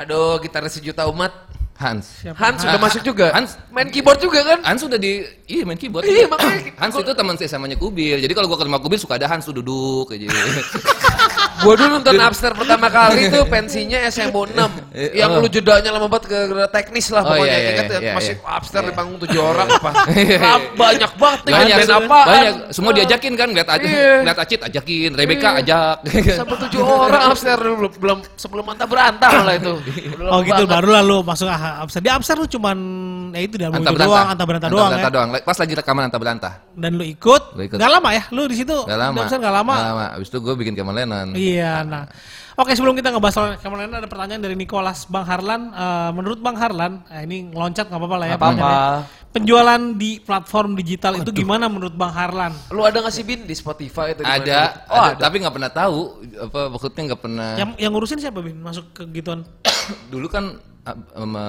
Aduh, gitaris sejuta umat. Hans. Hans sudah masuk juga. Ah, Hans- main keyboard juga kan? Hans udah di iya main keyboard. Iya, makanya- Hans itu teman saya samanya Kubil. Jadi kalau gue kenal Kubil suka ada Hans tuh duduk aja. Gua dulu nonton Upstairs pertama kali itu pensinya SMO 6. Eh, yang oh. lu jedanya lama banget gara-gara teknis lah Oh, pokoknya. iya, iya, Ingat ya, iya, masih iya. Upstairs di panggung 7 orang apa. Iya, iya. Rap- banyak banget nih banyak, band apaan. banyak. Semua diajakin kan, ngeliat, aja, Iya. ngeliat Acit ajakin, Rebecca ajak. Sampai 7 orang Upstairs dulu belum sebelum mantap berantah lah itu. Iya. Udah Oh lama gitu banget. baru lalu masuk ah, upstairs. Di upstairs lu cuman ya itu dalam itu doang, antar berantah doang ya. doang. Pas lagi rekaman antar berantah. Dan lu ikut, Lu ikut. gak lama ya? Lu di situ Gak lama. di upstairs gak lama. Abis itu gue bikin Kevin Lennon. Iya, nah. Oke, sebelum kita ngebahas soal kemarin ada pertanyaan dari Nicholas Bang Harlan. Eh, menurut Bang Harlan, eh, ini ngeloncat nggak apa-apa lah ya. Nggak apa-apa. pertanyaannya. Penjualan di platform digital itu gimana menurut Bang Harlan? Lu ada nggak sih Bin di Spotify atau di mana? Ada, Oh, ada, ada. tapi nggak pernah tahu apa maksudnya nggak pernah. Yang yang ngurusin siapa bin? Masuk ke gituan. Dulu kan ah, sama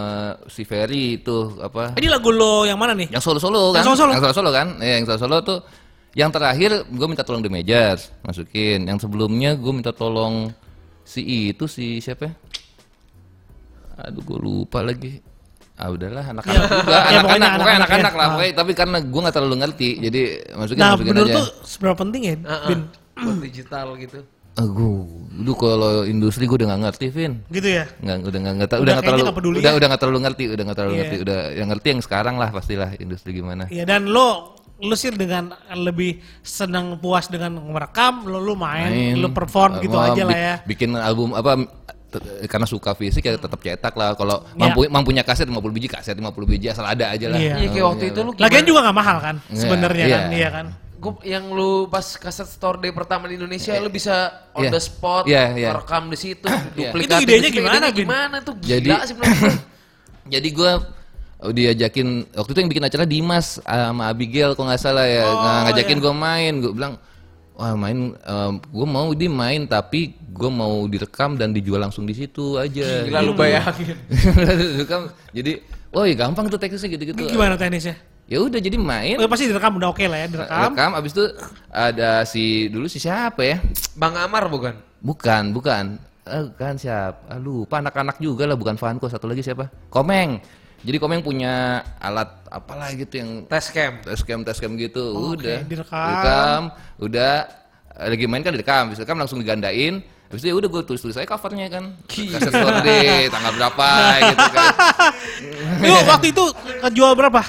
si Ferry itu apa? Ini lagu lo yang mana nih? Yang solo-solo Yang kan? solo-solo. kan? Iya, yang solo-solo tuh yang terakhir gue minta tolong The Majors masukin. Yang sebelumnya gue minta tolong si itu si siapa? ya? Aduh gue lupa lagi. Ah udahlah anak-anak juga, Iya. pokoknya anak-anak, pokoknya anak-anak ya. anak-anak lah. Pokoknya, tapi karena gue nggak terlalu ngerti, jadi masukin Nah, masukin menurut aja. tuh seberapa penting ya, Heeh. bin? Buat digital gitu. Aduh, dulu kalau industri gue udah nggak ngerti, Vin. Gitu ya. Nggak, udah nggak nggak tahu, Udah udah nggak kayaknya terlalu, nggak peduli udah ya. udah nggak terlalu ngerti, udah nggak terlalu Iya. ngerti, udah yang ngerti yang sekarang lah pastilah industri gimana. Iya dan lo lo sih dengan lebih senang puas dengan merekam, lo lo main, lo perform gitu Wah, aja lah bi- ya. Bikin album apa t- karena suka fisik ya tetap cetak lah kalau Iya. mampu mampunya kaset 50 biji kaset 50 biji asal ada aja lah. Iya. Iya kayak waktu itu lu Lagian juga nggak mahal kan Iya, sebenarnya iya. kan, iya kan. Gua, yang lu pas kaset store day pertama di Indonesia lu bisa on Iya. the spot Iya, iya. rekam di situ Itu duplikat idenya di situ, gimana, Bin? gimana tuh gila Jadi- sih menurut gua. Jadi gua oh, diajakin waktu itu yang bikin acara Dimas eh, sama Abigail kalau nggak salah ya Oh, Nah, ngajakin iya. gua main gue bilang wah main em, gua mau di main tapi gua mau direkam dan dijual langsung di situ aja gila lu bayangin Direkam. jadi woi gampang tuh teknisnya gitu-gitu Gimana teknisnya? ya udah jadi main Oh, pasti direkam udah oke lah ya direkam. rekam abis itu ada si dulu si siapa ya Bang Amar bukan bukan bukan Eh, kan siapa Ah, lupa anak-anak juga lah bukan Fanko satu lagi siapa Komeng jadi Komeng punya alat apalah gitu yang tes cam tes cam tes cam gitu udah direkam. Direkam, udah Eh, lagi main kan direkam abis direkam langsung digandain Habis itu ya udah gue tulis-tulis aja covernya kan. Kaset Sorde, tanggal berapa gitu kan. Lu waktu itu kejual berapa?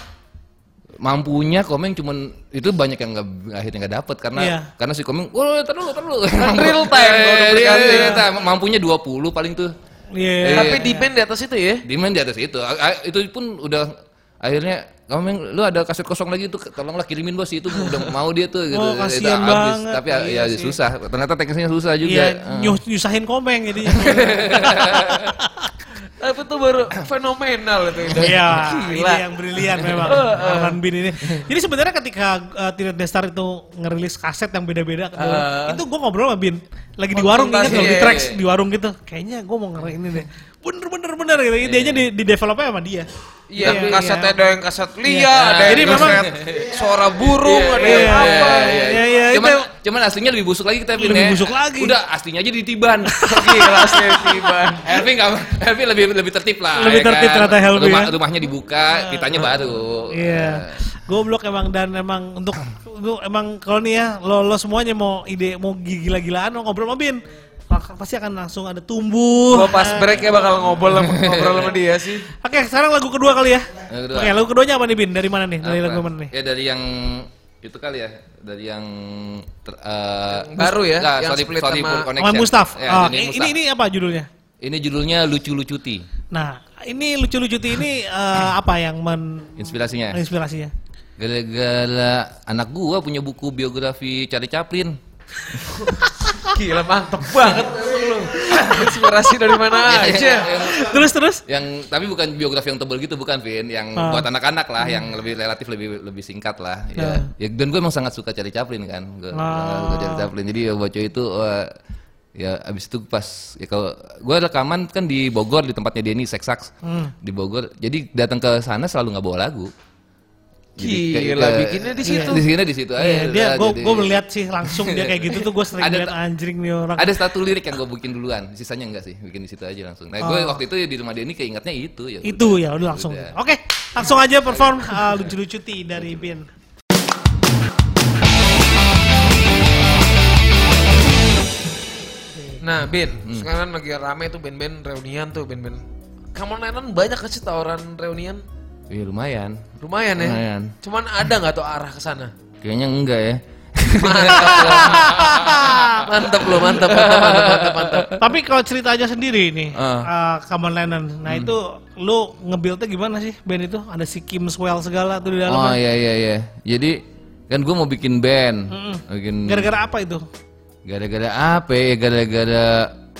mampunya Komeng cuman itu banyak yang nggak akhirnya nggak dapet karena Iya. karena si Komeng, oh tar dulu, tar dulu. real time kalau Eh, diberikan. iya, iya, iya. mampunya 20 paling tuh. Iya. tapi Eh, di band di atas itu ya Demand di atas itu. A- a- Itu pun udah akhirnya kamu yang lu ada kaset kosong lagi tuh tolonglah kirimin bos itu udah mau dia tuh gitu. Oh, Itu kasihan habis. banget. Tapi ya, Iya ya sih. susah. Ternyata teknisnya susah juga. Iya, nyus nyusahin komeng jadi. Tapi itu baru fenomenal itu. Indah. Iya, ini Gila. yang brilian memang Arlan Bin ini. Jadi sebenarnya ketika uh, Tina Destar itu ngerilis kaset yang beda-beda, itu gue ngobrol sama Bin. Lagi di warung, ingat loh, di iya, Konsultasi. tracks, di warung gitu. Kayaknya gue mau ngeri ini deh. Bener-bener bener gitu. Iya. Dia aja di, di developnya sama dia. Iya, Iya, kaset iya. ada yang kaset lia, ada Jadi yang memang- kaset suara burung, ada yang Iya, apa. iya, iya, iya, cuman, itu- cuman aslinya lebih busuk lagi kita Bin, Lebih ya. busuk lagi. Udah aslinya aja ditiban. Gila sih tiba. Helvi nggak, Helvi lebih lebih tertib lah. ya kan? Lebih tertib ternyata Helvi, Rumah, ya. ah. Rumahnya dibuka, kitanya baru. Ah, Iya. Goblok emang dan emang untuk lu emang kalau nih ya lo, lo semuanya mau ide mau gila-gilaan mau ngobrol sama Bin. Pasti akan langsung ada tumbuh. Gua pas eh, break ya bakal ngobrol sama, ngobrol sama dia sih. Oke, sekarang lagu kedua kali ya. Lagu kedua. Oke, lagu keduanya apa nih Bin? Dari mana nih? Dari Apa? lagu mana nih? Ya dari yang itu kali ya, dari yang ter- eh, baru ya, Nah, yang sorry, split sorry sama- Poor Connection. Sama Gustaf. Ya, Oh, ini, ini, Gustaf. ini Ini, apa judulnya? judulnya lucu-lucuti Nah, ini lucu-lucuti ini eh, apa yang men- inspirasinya. menginspirasinya? Gara-gara anak gua punya buku biografi Cari Caplin. Gila mantep banget lu. Inspirasi dari mana aja. yang, Terus terus? yang tapi bukan biografi yang tebel gitu bukan Vin, yang Ah. buat anak-anak lah, yang lebih relatif lebih lebih singkat lah. Ya. Ya, dan gue emang sangat suka cari Chaplin kan, gue Ah. suka cari Chaplin. Jadi ya baca itu eh, ya abis itu pas ya kalau gue rekaman kan di Bogor di tempatnya Denny Seksax Hmm. di Bogor. Jadi datang ke sana selalu nggak bawa lagu. kayak- Gila, kayak- bikinnya di situ. Di sini di situ. aja. Iya, dia gue Oh, Jadi- gue melihat sih langsung dia kayak gitu tuh gue sering Ada- lihat anjing nih orang. ada satu lirik yang gue bikin duluan, sisanya enggak sih, bikin di situ aja langsung. Nah, gue waktu itu ya di rumah Denny keingetnya itu Ah. ya. Itu ya udah langsung. Udah. Oke, langsung aja perform eh, lucu-lucuti dari Bin. Nah, Bin, Hmm. sekarang lagi rame tuh band-band reunian tuh band-band. Kamu Lennon banyak gak sih tawaran reunian? Iya lumayan. Lumayan ya. Lumayan. Cuman ada nggak tuh arah ke sana? Kayaknya enggak ya. Ah. Mantap lo, mantap, mantap, mantap, mantap, mantap. Tapi kalau cerita aja sendiri nih, Ah. uh. Common Lennon. Nah Hmm. itu lu nge-build-nya gimana sih band itu? Ada si Kim Swell segala tuh di oh dalamnya. iya iya iya. Jadi kan gue mau bikin band, bikin Gara-gara apa itu? Hmm. gara-gara apa ya? Gara-gara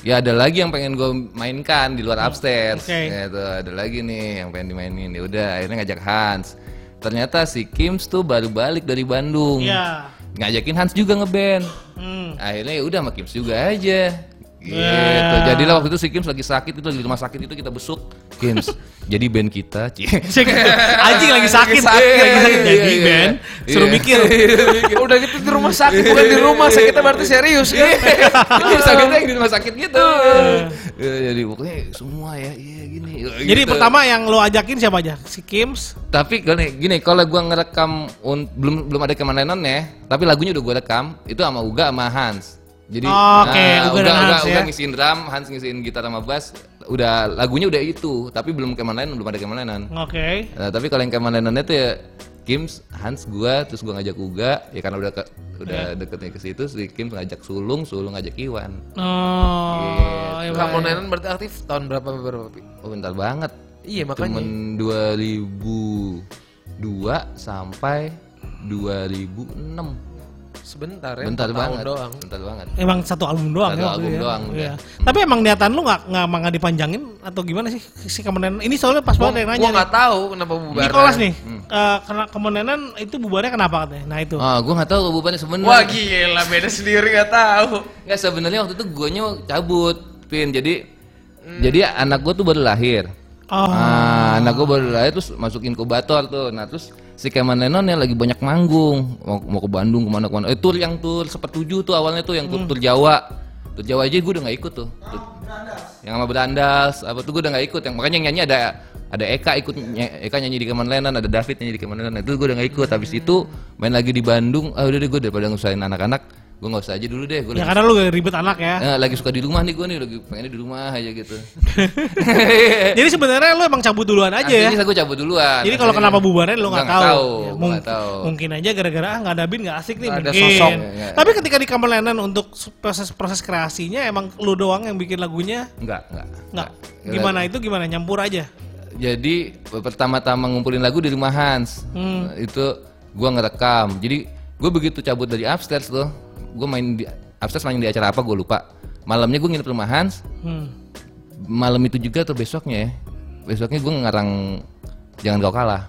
ya ada lagi yang pengen gue mainkan di luar upstairs. Oke. Ya, itu ada lagi nih yang pengen dimainin. Ya udah akhirnya ngajak Hans. Ternyata si Kims tuh baru balik dari Bandung. Iya. Ngajakin Hans juga ngeband. Hmm. Akhirnya ya udah sama Kims juga aja. Gitu. Ya. Jadilah waktu itu si Kims lagi sakit itu lagi di rumah sakit itu kita besuk Kims. jadi band kita, cie. Cek, anjing lagi sakit, Lagi sakit. lagi sakit Iya, jadi iya, band, iya. suruh Iya. mikir. Udah gitu di rumah sakit, Iya. bukan di rumah sakitnya berarti serius kan? sakitnya yang di rumah sakit gitu. Iya. Ya, jadi pokoknya semua ya, iya gini. Jadi gitu. pertama yang lo ajakin siapa aja? Si Kims. tapi gini, gini kalau gua ngerekam un- belum belum ada Keman Lennon ya, tapi lagunya udah gua rekam itu sama Uga sama Hans. Jadi Oh, Oke, nah, Uga dan Hans ya. Uga ngisiin drum, Hans ngisiin gitar sama bass, udah lagunya udah itu, tapi belum Keman Lennon, belum ada Keman Lennon. Oke. Nah, tapi kalau yang Keman Lennonnya tuh ya Kims, Hans, gua, terus gua ngajak Uga, ya karena udah ke, Iya. udah deketnya ke situ, si Kims ngajak Sulung, Sulung ngajak Iwan. Oh, iya, Kamu iya. Lennon berarti aktif tahun berapa berapa? Pi? Oh bentar banget. Iya makanya. Cuman 2002 sampai 2006. Sebentar ya. Bentar empat tahun banget. doang. Bentar banget. Emang satu album doang Satu ya waktu album itu ya? doang, Iya. udah. Tapi emang niatan lu nggak nggak emang nggak dipanjangin atau gimana sih si kemenan? Ini soalnya pas Gua, banget ada yang nanya. gua nih. nggak tahu kenapa bubar. Nicholas nih, Hmm. eh, kena kemenenan itu bubarnya kenapa katanya? Nah itu. Ah, gua nggak tahu bubannya Wah sebenarnya. gila, beda sendiri nggak tahu. Nggak sebenarnya waktu itu guanya cabut, Pin. Jadi Hmm. jadi anak gua tuh baru lahir. Oh. Ah, anak gua baru lahir terus masuk inkubator tuh. Nah, terus si Keman Lennon yang lagi banyak manggung, mau, mau ke Bandung kemana kemana. Eh, tur yang tur sepertujuh tuh awalnya tuh yang Hmm. tur, tur Jawa. Tur Jawa aja gua udah nggak ikut tuh. Tur- yang sama Berandas, apa tuh gua udah nggak ikut. Yang makanya yang nyanyi ada ada Eka ikut ny- Eka nyanyi di Keman Lennon, ada David nyanyi di Keman Lennon. Nah, Itu gua udah nggak ikut. Habis itu main lagi di Bandung. Ah, udah deh gua daripada ngusahain anak-anak, gua nggak usah aja dulu deh. Gua ya karena lu ribet anak ya. Eh, lagi suka di rumah nih gue nih, lagi pengennya di rumah aja gitu. Jadi sebenarnya lu emang cabut duluan aja ya. Eh. Aslinya gue cabut duluan. Jadi kalau Aslinya- kenapa bubarnya lu nggak Nggak tahu. tahu, Ya, gua mung- nggak tahu. Mungkin aja gara-gara ah nggak ada bin nggak asik nih Nggak ada mungkin. sosok. Ya, ya. Tapi ketika di kemenenan untuk proses proses kreasinya emang lu doang yang bikin lagunya Enggak, enggak. nggak gimana itu gimana nyampur aja. jadi pertama-tama ngumpulin lagu di rumah Hans Hmm. Nah, itu gua ngerekam jadi gue begitu cabut dari upstairs tuh gue main di upstairs main di acara apa gue lupa malamnya gue nginep rumah Hans Hmm. malam itu juga atau besoknya ya besoknya gue ngarang jangan kau kalah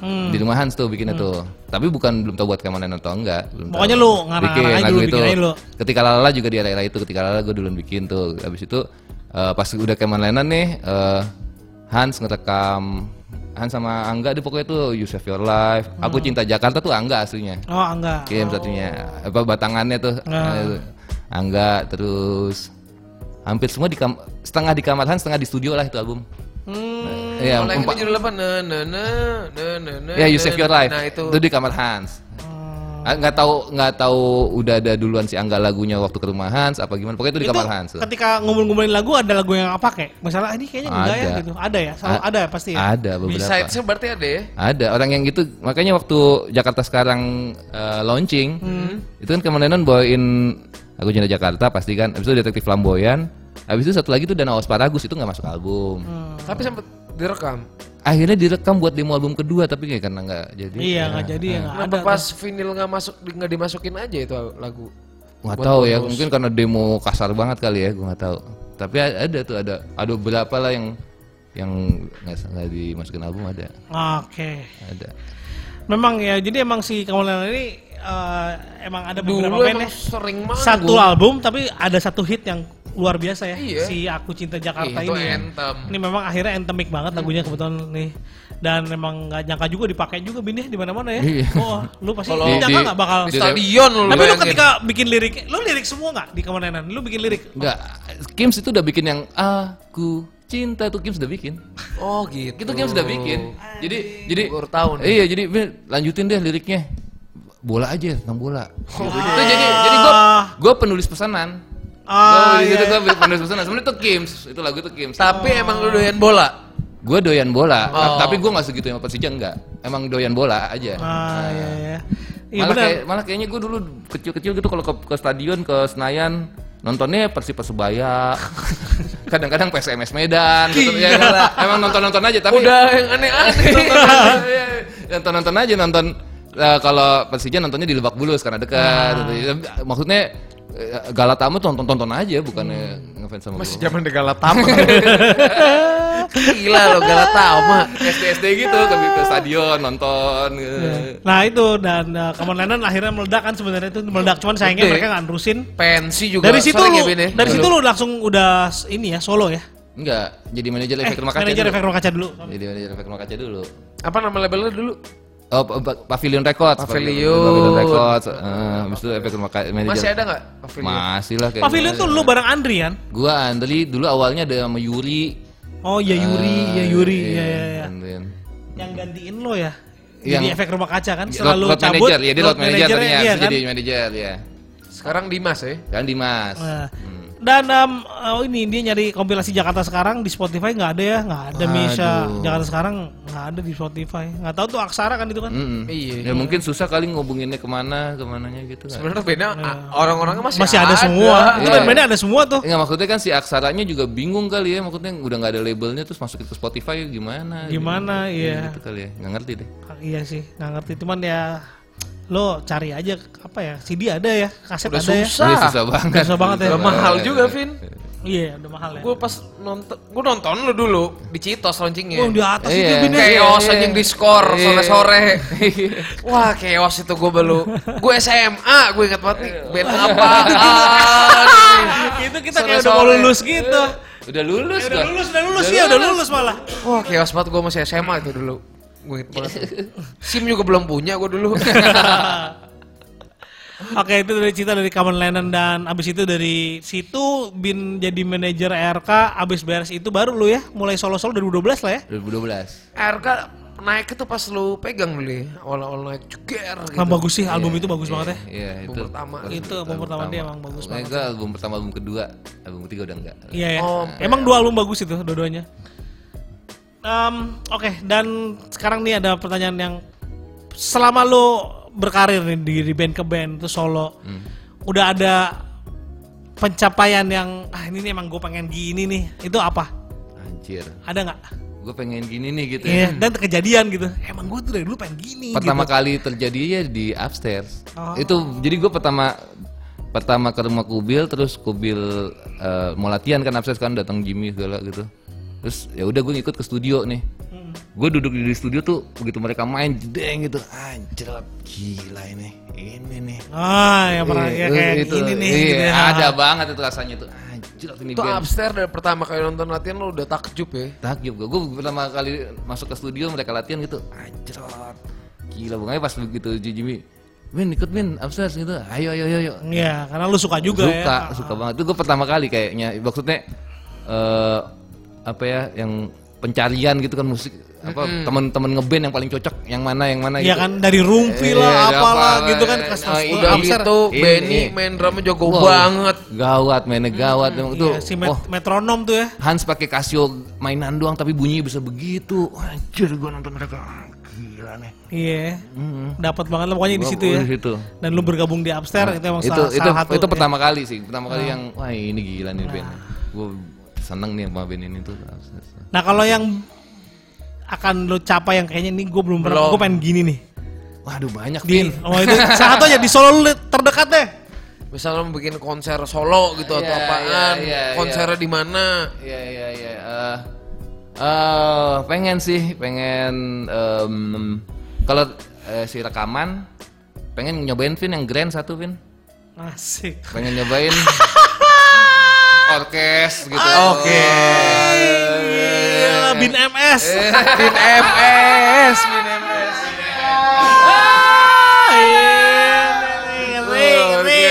Hmm. di rumah Hans tuh bikinnya tuh tapi bukan belum tahu buat keamanan atau enggak belum tahu. Pokoknya lu ngarang-ngarang Bikin aja lagu lu, bikin aja lu. ketika lala juga di era-era itu ketika lala gue duluan bikin tuh habis itu eh, pas udah keamanan nih eh, Hans ngerekam Hans sama Angga deh pokoknya tuh You Save Your Life aku cinta Jakarta tuh Angga aslinya Hmm. Oh, Nah. enggak. Kim satunya apa batangannya tuh eh, Angga terus hampir semua di kam- setengah di kamar Hans setengah di studio lah itu album Hmm. Iya, Kalau yang itu empat- judul apa? Na na na na na na. ya you save your life Nah itu. di kamar Hans Ah, nggak tahu nggak tahu udah ada duluan si Angga lagunya waktu ke rumah Hans apa gimana pokoknya itu kan di Itu kamar Hans ketika ngumpul-ngumpulin lagu ada lagu yang apa kayak? Masalah ini kayaknya enggak ya Ada. gitu. Ada ya, selalu A- ada ya pasti ya. ada beberapa Besides berarti ada ya. ada orang yang gitu makanya waktu Jakarta sekarang eh, launching itu kan kemarin bawain aku cinta Jakarta pasti kan habis itu detektif flamboyan habis itu satu lagi tuh Danau Asparagus itu nggak masuk album Tapi sempat direkam. akhirnya direkam buat demo album kedua tapi kayak karena nggak jadi Iya, enggak jadi ya enggak ada. Kenapa pas vinyl nggak masuk di- nggak dimasukin aja itu lagu? nggak tahu ya mungkin karena demo kasar banget kali ya gue nggak tahu tapi a- ada tuh ada ada berapa lah yang yang nggak s- nggak dimasukin album ada Oke. ada Memang ya, jadi emang si Kamulan ini eh, emang ada beberapa Dulu band ya. emang sering banget. Satu album tapi ada satu hit yang luar biasa ya. Iya. Si Aku Cinta Jakarta ini. ya. Itu Gitu, anthem. Ini memang akhirnya endemic banget lagunya kebetulan nih. Dan memang nggak nyangka juga dipakai juga bin ya di mana-mana ya. Iya. Oh, lu pasti Kalau- nyangka Di- nggak bakal. Di stadion lu. Tapi lu bayangin. ketika bikin lirik, lu lirik semua nggak di kemenenan? Lu bikin lirik? nggak Kims itu udah bikin yang aku cinta tuh Kims udah bikin Oh gitu. eh, itu Kims udah bikin jadi jadi Baru tahu nih. iya jadi Bin, lanjutin deh liriknya bola aja tentang bola Oh. Gitu. itu jadi jadi gue gue penulis pesanan Ah, Gua- iya. gitu, gua penulis pesanan sebenarnya itu Kims itu lagu itu Kims Tapi emang lu doyan bola. Gue doyan bola, Oh. tapi gue gak segitu sama Persija enggak. Emang doyan bola aja. Ah, iya iya. Iya malah, benar. kayak, malah kayaknya gue dulu kecil-kecil gitu kalau ke, ke stadion ke Senayan nontonnya Persib Persebaya. Kadang-kadang PSMS Medan gitu ya. Emang nonton-nonton aja tapi Iya. Iya, Udah yang aneh-aneh. nonton-nonton aja nonton eh, kalau Persija nontonnya di Lebak Bulus karena gitu. dekat. Ah. Maksudnya eh, Galatamu tonton-tonton aja bukannya ngefans sama Masih gua. zaman di Galatama. Gila lo Galatama. SD-SD gitu ke, ke stadion nonton. gitu. eh, Iya. Nah itu dan uh, kemenenan akhirnya meledak kan sebenarnya itu meledak cuman sayangnya Betul. mereka nggak nerusin. Pensi juga. Dari situ sering lu, ya, Bin, ya? dari situ lu langsung udah s- ini ya solo ya. Enggak, jadi manajer efek rumah Eh, kaca. manajer dulu. efek rumah kaca dulu. Jadi manajer efek rumah kaca dulu. Apa nama labelnya dulu? Oh, pa- pa- Pavilion Records. Pavilion. Pavilion Records. eh, Habis itu efek rumah kaca manajer. Masih ada nggak? Pavilion? Masih lah kayaknya. Pavilion tuh lu bareng Andri kan? Gua Andri dulu awalnya ada sama Yuri. Oh ya Yuri, Eh, ya Yuri, iya, ya ya ya. Andrian. Yang gantiin lo ya. Jadi Yang- efek rumah kaca kan Road, selalu road cabut. manager, ya dia road manager managernya, ternyata. iya Habis itu kan? Jadi manajer ya. Sekarang Dimas ya. Kan Dimas. Nah, Hmm. Dan um, oh ini dia nyari kompilasi Jakarta sekarang di Spotify nggak ada ya, nggak ada Misha. Jakarta sekarang nggak ada di Spotify. Nggak tahu tuh Aksara kan itu kan. Mm-mm. Iya. Ya mungkin susah kali ngubunginnya kemana, kemananya gitu kan. Sebenarnya beda orang-orangnya masih, Masih ada, semua. Itu Iya. kan mainnya ada semua tuh. Enggak maksudnya kan si aksaranya juga bingung kali ya, maksudnya udah nggak ada labelnya terus masukin ke Spotify gimana? Gimana, iya. Gitu kali ya, nggak ngerti deh. Iya sih, nggak ngerti. Cuman ya lo cari aja apa ya CD ada ya, kaset Udah ada ya. susah. Ini susah banget. Susah banget ya. Udah mahal juga, iya, Vin. Iya, udah mahal ya. Gue pas nonton, gue nonton lu dulu di Citos Wah, launchingnya. di atas Iya. itu ya. bini. Chaos Iya, iya. anjing di skor Iya. sore-sore. Wah, chaos itu gue baru. Gue SMA, gue inget banget nih. Band apa? itu kita kayak udah mau Sore-sore. lulus gitu. Udah lulus Ya, udah gua. lulus, udah lulus ya, udah lulus malah. Wah, chaos banget gue masih SMA itu dulu. Gue inget banget. SIM juga belum punya gue dulu. Oke itu dari cerita dari Kamen Lennon dan abis itu dari situ Bin jadi manajer ARK abis beres itu baru lu ya mulai solo-solo 2012 lah Gitu. ya 2012. RK naik itu pas lu pegang dulu ya. Awal-awal naik ceger gitu. Nah bagus sih album itu bagus banget ya Iya, itu. pertama. Itu album pertama dia emang bagus Makanya gua album pertama, album kedua, album ketiga udah enggak. Iya ya Oh, emang dua album bagus itu dua-duanya Em, Oke dan sekarang nih ada pertanyaan yang selama lu berkarir nih di, di band ke band terus solo udah ada pencapaian yang ah ini nih emang gue pengen gini nih itu apa Anjir. ada nggak gue pengen gini nih gitu ya. Iya, dan kejadian gitu. Emang gue tuh dari dulu pengen gini pertama gitu. kali terjadi ya di upstairs Oh. itu jadi gue pertama pertama ke rumah kubil terus kubil eh, mau latihan kan upstairs kan datang Jimmy segala gitu terus ya udah gue ngikut ke studio nih Hmm. gue duduk di studio tuh begitu mereka main jedeng gitu anjir gila ini ini nih Ah, ya pernah Iya, ya, kayak itu, gini nih. iya, gitu ya. ada banget itu rasanya tuh anjir ini Itu band upstairs dari pertama kali nonton latihan lo udah takjub ya. takjub gue. Gue pertama kali masuk ke studio mereka latihan gitu. Anjrot. Gila bukannya pas begitu Jimmy. Min ikut Min upstairs gitu. Ayo ayo ayo. ayo. Iya, karena lu suka juga ya. suka, suka banget. Itu gue pertama kali kayaknya. Maksudnya eh apa ya yang pencarian gitu kan musik apa teman-teman ngeband yang paling cocok yang mana yang mana Iya gitu. kan dari rumpi Iya, lah, ada apalah apa, gitu kan eh, kelas nah, kelas udah Udah Upstairs. gitu Ini. Benny main drumnya jago Wow, banget. Gawat mainnya gawat. Emang Itu Iya, si met- oh, metronom tuh ya. Hans pakai Casio mainan doang tapi bunyinya bisa begitu. Anjir gue nonton mereka. Gila nih. Iya. Dapat banget lah pokoknya di Gua- situ gua ya. di situ. Mm. Dan lu bergabung di Upstairs itu emang itu salah, itu salah satu. ya. Ah. itu pertama kali sih pertama kali yang wah ini gila nih band gue seneng nih sama band ini tuh Nah, kalau yang akan lu capai yang kayaknya nih gue belum pernah, gue pengen gini nih. waduh banyak Di, Vin. oh itu salah satu aja di Solo lu terdekat deh. Misalnya lo bikin konser solo gitu atau Iya, apaan. iya, iya, Konsernya di mana? Iya iya iya. Eh, eh, pengen sih, pengen em, kalau eh, si rekaman pengen nyobain Vin yang grand satu Vin. Asik. Pengen nyobain orkes gitu. Oke. Gila, bin MS. Min MS, Min MS. Ah, iya, ngeri, Oh, ngeri.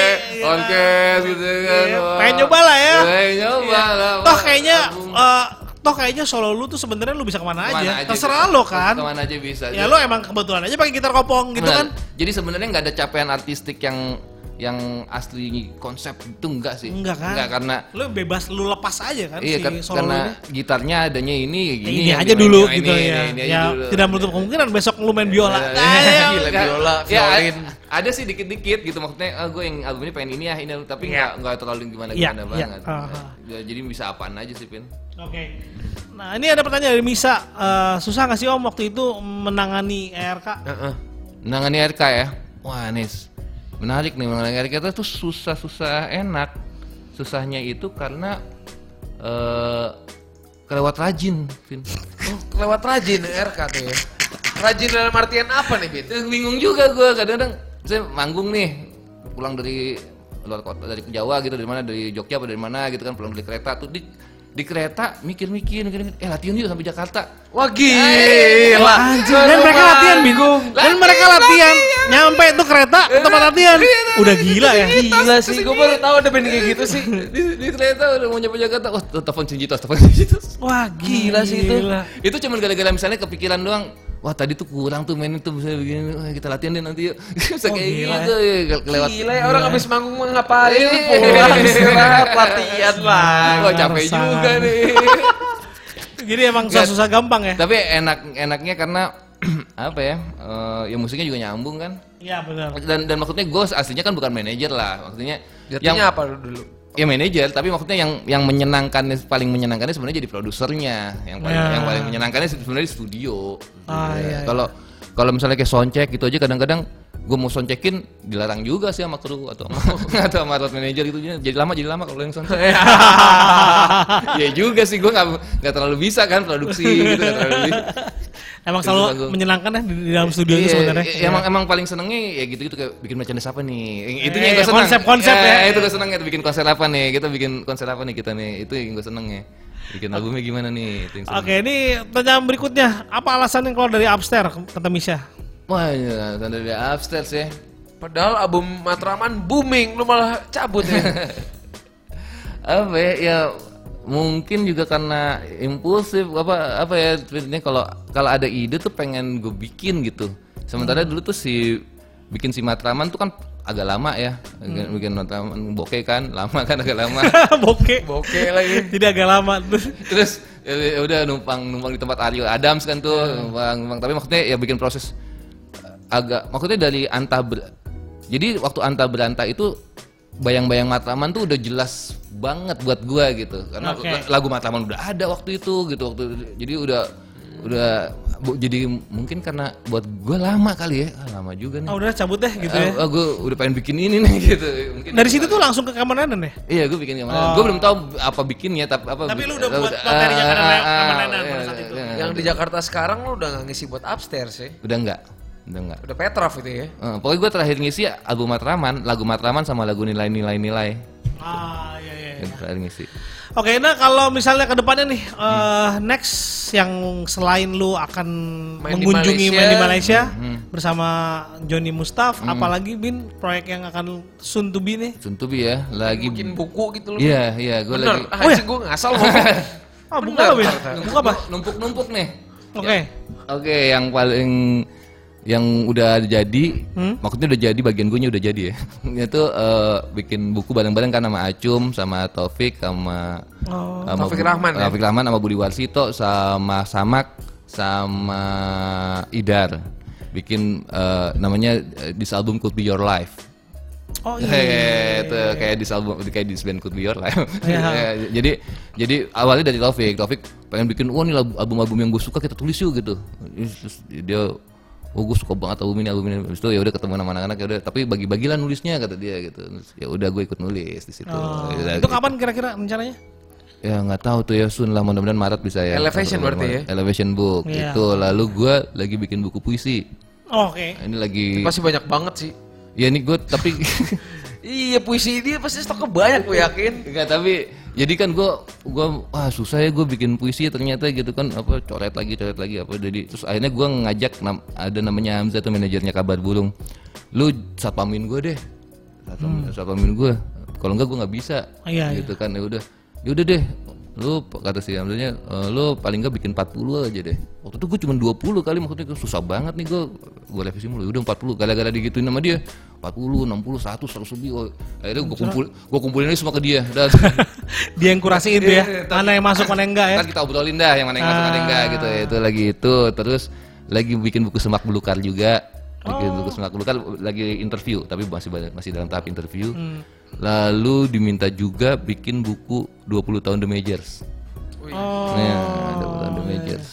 Orkes, orkes gitu ya kan. Wah. Iya, Pengen nyoba lah ya. Iya, Pengen nyoba lah. Toh kayaknya eh, toh kayaknya solo lu tuh sebenarnya lu bisa kemana Kemana aja. aja Terserah bisa. lo kan. Kemana aja bisa. Ya lo emang kebetulan aja pakai gitar kopong gitu Benar. kan. Jadi sebenarnya nggak ada capaian artistik yang yang asli konsep itu enggak sih. Enggak kan? karena Lo bebas lu lepas aja kan iya si kan- solo karena lu ini. gitarnya adanya ini Ya, ya gini. ini yang aja dimainin, dulu yang gitu ini, ya. ini aja ya dulu. tidak menutup kemungkinan besok lu main biola. Iya, Nah, ya. Gila, Kan- biola, ya, a- violin. ada sih dikit-dikit gitu maksudnya ah, gue yang albumnya pengen ini ya ini tapi nggak nggak terlalu gimana Iya, gimana iya. banget. Aha. Ya, jadi bisa apaan aja sih Pin. Oke. Nah, ini ada pertanyaan dari Misa. Eh, susah nggak sih Om waktu itu menangani ERK? Heeh. Menangani RK ya. Wah, Nis. Menarik nih menangani RK itu susah-susah enak. Susahnya itu karena eh kelewat rajin, Vin. Oh, Lewat rajin RK tuh ya. Rajin dalam artian apa nih, Bin? Terus bingung juga gue kadang-kadang saya manggung nih pulang dari luar kota dari Jawa gitu dari mana dari Jogja apa dari mana gitu kan pulang dari kereta tuh di di kereta mikir-mikir mikir, eh latihan yuk sampai Jakarta Wah gila. iya. Anjir, dan mereka latihan bingung. Dan mereka latihan, nyampe tuh kereta ke tempat latihan. Iya, Udah gila ya. Gila sih, gue baru tahu ada band kayak gitu sih. di, di kereta udah mau nyampe Jakarta wah telepon Cinjitos telepon Cinjitos Wah, gila sih itu. gila. Itu cuman gara-gara misalnya kepikiran doang. Wah tadi tuh kurang tuh mainin tuh misalnya begini. Wah, kita latihan deh nanti yuk. Bisa Oh, kayak gila gitu ya. ke- Kelewat. Gila ya, orang habis manggung mah ngapain? Iya. Pulang istirahat, latihan lah. Wah capek Sangat. juga nih. Jadi emang susah-susah gampang ya? Tapi enak enaknya karena apa ya? eh, ya musiknya juga nyambung kan. Iya, benar. Dan dan maksudnya gue aslinya kan bukan manajer lah. Maksudnya yang Jatuhnya apa lu dulu? ya manajer tapi maksudnya yang yang menyenangkan paling menyenangkannya sebenarnya jadi produsernya yang paling Ya. yang paling menyenangkannya sebenarnya di studio Ah, iya, Ya, iya. kalau kalau misalnya kayak soundcheck gitu aja kadang-kadang gue mau soundcheckin dilarang juga sih sama kru atau sama, atau sama road manager gitu jadi lama jadi lama kalau yang soundcheck ya juga sih gue nggak nggak terlalu bisa kan produksi gitu nggak terlalu bisa. Emang Itu selalu bagus. menyenangkan ya di, di dalam studio itu Iya, sebenarnya. iya, emang emang paling senengnya ya gitu gitu kayak bikin merchandise apa nih Yang- itu yang Eh, gue seneng konsep-konsep Eh, ya. itu gue seneng itu bikin konser apa nih kita bikin konser apa nih kita nih itu yang gue seneng ya bikin albumnya gimana nih itu yang seneng. Oke, ini pertanyaan berikutnya. Apa alasan yang keluar dari upstairs, kata Misha? wah ya, tanda dari upstairs ya Padahal album Matraman booming, lu malah cabut ya. apa ya, ya mungkin juga karena impulsif apa apa ya ini kalau kalau ada ide tuh pengen gue bikin gitu Hmm. sementara dulu tuh si bikin si Matraman tuh kan agak lama ya bikin, Hmm. bikin Matraman bokeh kan lama kan agak lama Bokeh. Bokeh lagi. Tidak agak lama. terus ya, ya udah numpang numpang di tempat Ariel Adams kan tuh Hmm. numpang numpang tapi maksudnya ya bikin proses eh, agak maksudnya dari anta ber- jadi waktu anta beranta itu bayang-bayang Matraman tuh udah jelas banget buat gua gitu karena Oke. la- lagu Matraman udah ada waktu itu gitu waktu jadi udah udah bu- jadi mungkin karena buat gue lama kali ya Ah, lama juga Ah nih udah cabut deh gitu ya. Nah, gue udah pengen bikin ini nih gitu mungkin Dari situ tuh langsung ke Kamenanen ya? Iya, gue bikin kemana? Gue belum tahu apa bikinnya, tapi apa. Tapi lu udah buat materinya karena ah, ah, kemenangan iya, pada saat itu. iya, Yang di Jakarta sekarang lu udah nggak ngisi buat upstairs ya? Udah enggak, udah enggak. Udah Petrov itu ya? Eh, pokoknya gue terakhir ngisi album Matraman, lagu Matraman sama lagu nilai-nilai nilai. Ah iya iya. Yang terakhir ngisi. Oke, nah kalau misalnya ke depannya nih eh, next yang selain lu akan Main di mengunjungi Malaysia. main di Malaysia bersama Joni Mustaf, apalagi Bin proyek yang akan soon to be nih. Suntubi ya, lagi. Bikin buku gitu lu. Iya, iya, gue Bener, lagi. ah, Oh, iya. gue ngasal ngomong. Ah, buka apa, Bin? Buka apa? Numpuk-numpuk nih. Oke. Oke, yang paling yang udah jadi, Hmm? maksudnya udah jadi bagian gue udah jadi ya. Itu eh, bikin buku bareng-bareng kan sama Acum, sama Taufik, sama Oh. sama Taufik Bu- Rahman ya? Taufik Rahman sama Budi Warsito, sama Samak, sama Idar. Bikin eh, namanya di album Could Be Your Life. Oh iya. Hehehe, itu kayak di album kayak di band Could Be Your Life. Iya. Ya, jadi jadi awalnya dari Taufik, Taufik pengen bikin wah ini lagu- album-album yang gue suka kita tulis yuk gitu. Terus dia oh gue suka banget album ini album ini Habis itu ya udah ketemu sama anak-anak ya udah tapi bagi-bagilah nulisnya kata dia gitu. Terus, ya udah gue ikut nulis di situ. Oh, Ya, Itu kapan kira-kira rencananya? ya nggak tahu tuh ya Sun lah mudah-mudahan Maret bisa ya. Elevation berarti ya? Elevation book Iya. itu lalu gue lagi bikin buku puisi. Oh, Nah, Oke. Ini lagi Pasti banyak banget sih. ya ini gue tapi Iya puisi dia pasti stoknya banyak gue yakin. Enggak tapi jadi kan gue gua wah susah ya gue bikin puisi ternyata gitu kan apa coret lagi coret lagi apa jadi terus akhirnya gue ngajak nam- ada namanya Hamzah tuh manajernya kabar burung lu satpamin gue deh satpamin, satpamin gue kalau enggak gue nggak bisa Hmm. Iya, iya. gitu kan ya udah ya udah deh lu kata si Hamzahnya e, lu paling nggak bikin 40 aja deh waktu itu gue cuma 20 kali maksudnya gua susah banget nih gue gue revisi mulu Ya udah 40 gara-gara digituin sama dia 40 60 100 100 lebih oh. akhirnya gue kumpul gue kumpulin aja semua ke dia dan Dia yang kurasi itu ya. Mana yang masuk, mana yang enggak ya. ntar kan kita obrolin dah yang mana yang masuk ada yang enggak gitu itu lagi itu terus lagi bikin buku semak belukar juga bikin buku semak belukar lagi interview tapi masih banyak- masih dalam tahap interview lalu diminta juga bikin buku 20 tahun The Majors Oh. Nah, 20 tahun The Majors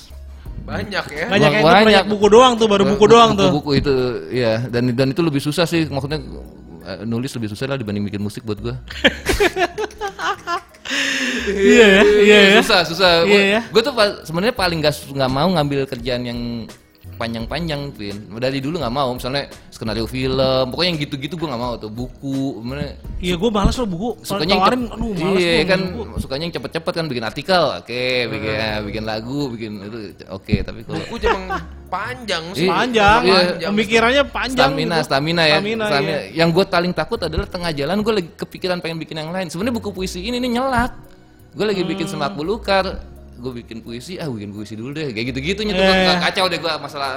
Banyak ya. Banyak yang itu Banyak. proyek buku doang tuh, baru buku doang tuh. buku itu ya dan dan itu lebih susah sih maksudnya eh, nulis lebih susah lah dibanding bikin musik buat gua Iya ya, iya ya. susah susah Iya, ya. gue tuh pa- sebenarnya paling gak su- nggak mau ngambil kerjaan yang panjang-panjang pin dari dulu nggak mau misalnya skenario film pokoknya yang gitu-gitu gue nggak mau tuh buku mana Iya, gue males loh buku. Soalnya sukanya yang tawarin, cep- aduh males iya gua kan buku. Iya. sukanya yang cepet-cepet kan bikin artikel oke bikin ya, bikin lagu bikin itu oke tapi kalau Buku cuma panjang sih. Iya. panjang, Iya. pemikirannya panjang. stamina, gitu. stamina ya. Stamina, Stamina. iya. Yang gue paling takut adalah tengah jalan gue lagi kepikiran pengen bikin yang lain. Sebenarnya buku puisi ini nih nyelak. Gue lagi Hmm. bikin semak belukar, gue bikin puisi, ah bikin puisi dulu deh. Kayak gitu-gitunya tuh Iya. gua- gua kacau deh gue masalah.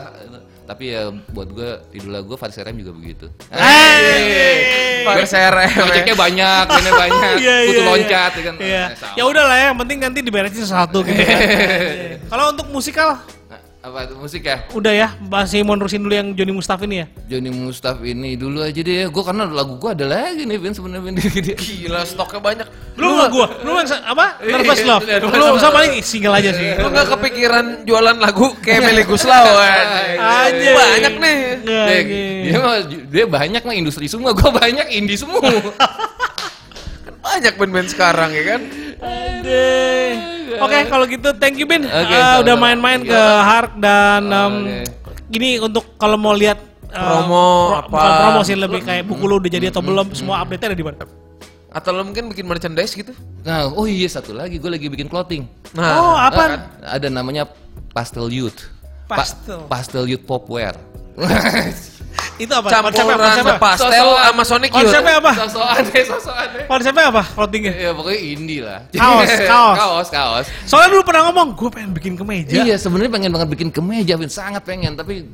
Tapi ya buat gue idola gue Faris RM juga begitu. Ah, Iya, Hey. Pak SRM. Proyeknya banyak, ini banyak, Iya, kutu iya, loncat, ya kan. Iya. Eh, sama. Ya udah lah ya, yang penting nanti diberesin satu gitu. kan. Iya. Kalau untuk musikal Nah, Apa itu musik ya? udah ya, masih mau nerusin dulu yang Joni Mustaf ini ya. Joni Mustaf ini dulu aja deh. Gue karena lagu gue ada lagi nih, Vin sebenarnya. Vin. Gila stoknya banyak. Lu sama gua, lu yang sa- apa? Iya, Nervous Love. Lu sama paling single aja sih. Lu gak kepikiran jualan lagu kayak Melly Goeslaw kan? Anjing. Banyak nih. Nggak, Dia, gini. dia mah dia banyak mah industri semua, gue banyak indie semua. Kan banyak band-band sekarang ya kan? Aduh. Oke, kalau gitu thank you Bin. Oke, Eh, udah sama-sama. main-main Thank ke Hark dan Oke. em, gini untuk kalau mau lihat eh, Promo apa? bukan promo sih lebih kayak buku lu udah jadi atau belum, semua update-nya ada di mana? Atau lo mungkin bikin merchandise gitu? Nah. nah, oh iya satu lagi gue lagi bikin clothing. Ah, Oh, apa? Ada namanya Pastel Youth. Pastel. Pastel Youth Popwear. Itu apa? campuran pastel Sosokan. sama Sonic Youth. Konsepnya apa? Sosokan deh, sosokan deh. Konsepnya apa? Clothingnya? Ya pokoknya indie lah. Kaos, kaos. kaos, kaos. Soalnya dulu pernah ngomong, gue pengen bikin kemeja. Iya, sebenarnya pengen banget bikin kemeja, Vin. sangat pengen, tapi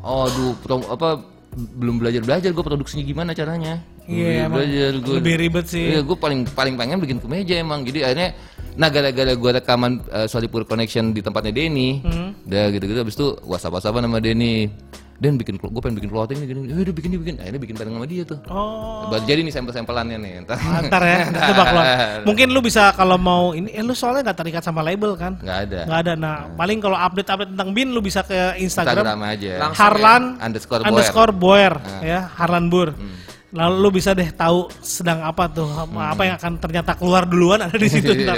aduh, pro- apa belum belajar-belajar gue produksinya gimana caranya. Belum Iya, emang belajar gua. lebih ribet sih. Iya, gue paling paling pengen bikin kemeja emang. Jadi akhirnya nah gara-gara gue rekaman Hmm. eh, uh, Solipur Connection di tempatnya Denny, udah gitu-gitu abis itu whatsapp whatsappan sama Denny. Den bikin gue pengen bikin clothing nih gini, gini. Eh, udah bikin dia bikin. Akhirnya bikin bareng sama dia tuh. Oh. Baru jadi nih sampel-sampelannya nih. Entar Ntar ya, ntar tebak lo. Iya. Mungkin lu bisa kalau mau ini, eh lu soalnya nggak terikat sama label kan? Nggak ada. Nggak ada. Nah, paling kalau update-update tentang bin lu bisa ke Instagram Instagram. aja. Langsung Harlan ya, underscore Boer. Ah. Hmm. underscore Boer, ya, Harlan Bur. Lalu lu bisa deh tahu sedang apa tuh, apa- Hmm. apa yang akan ternyata keluar duluan ada di situ Iya, ntar.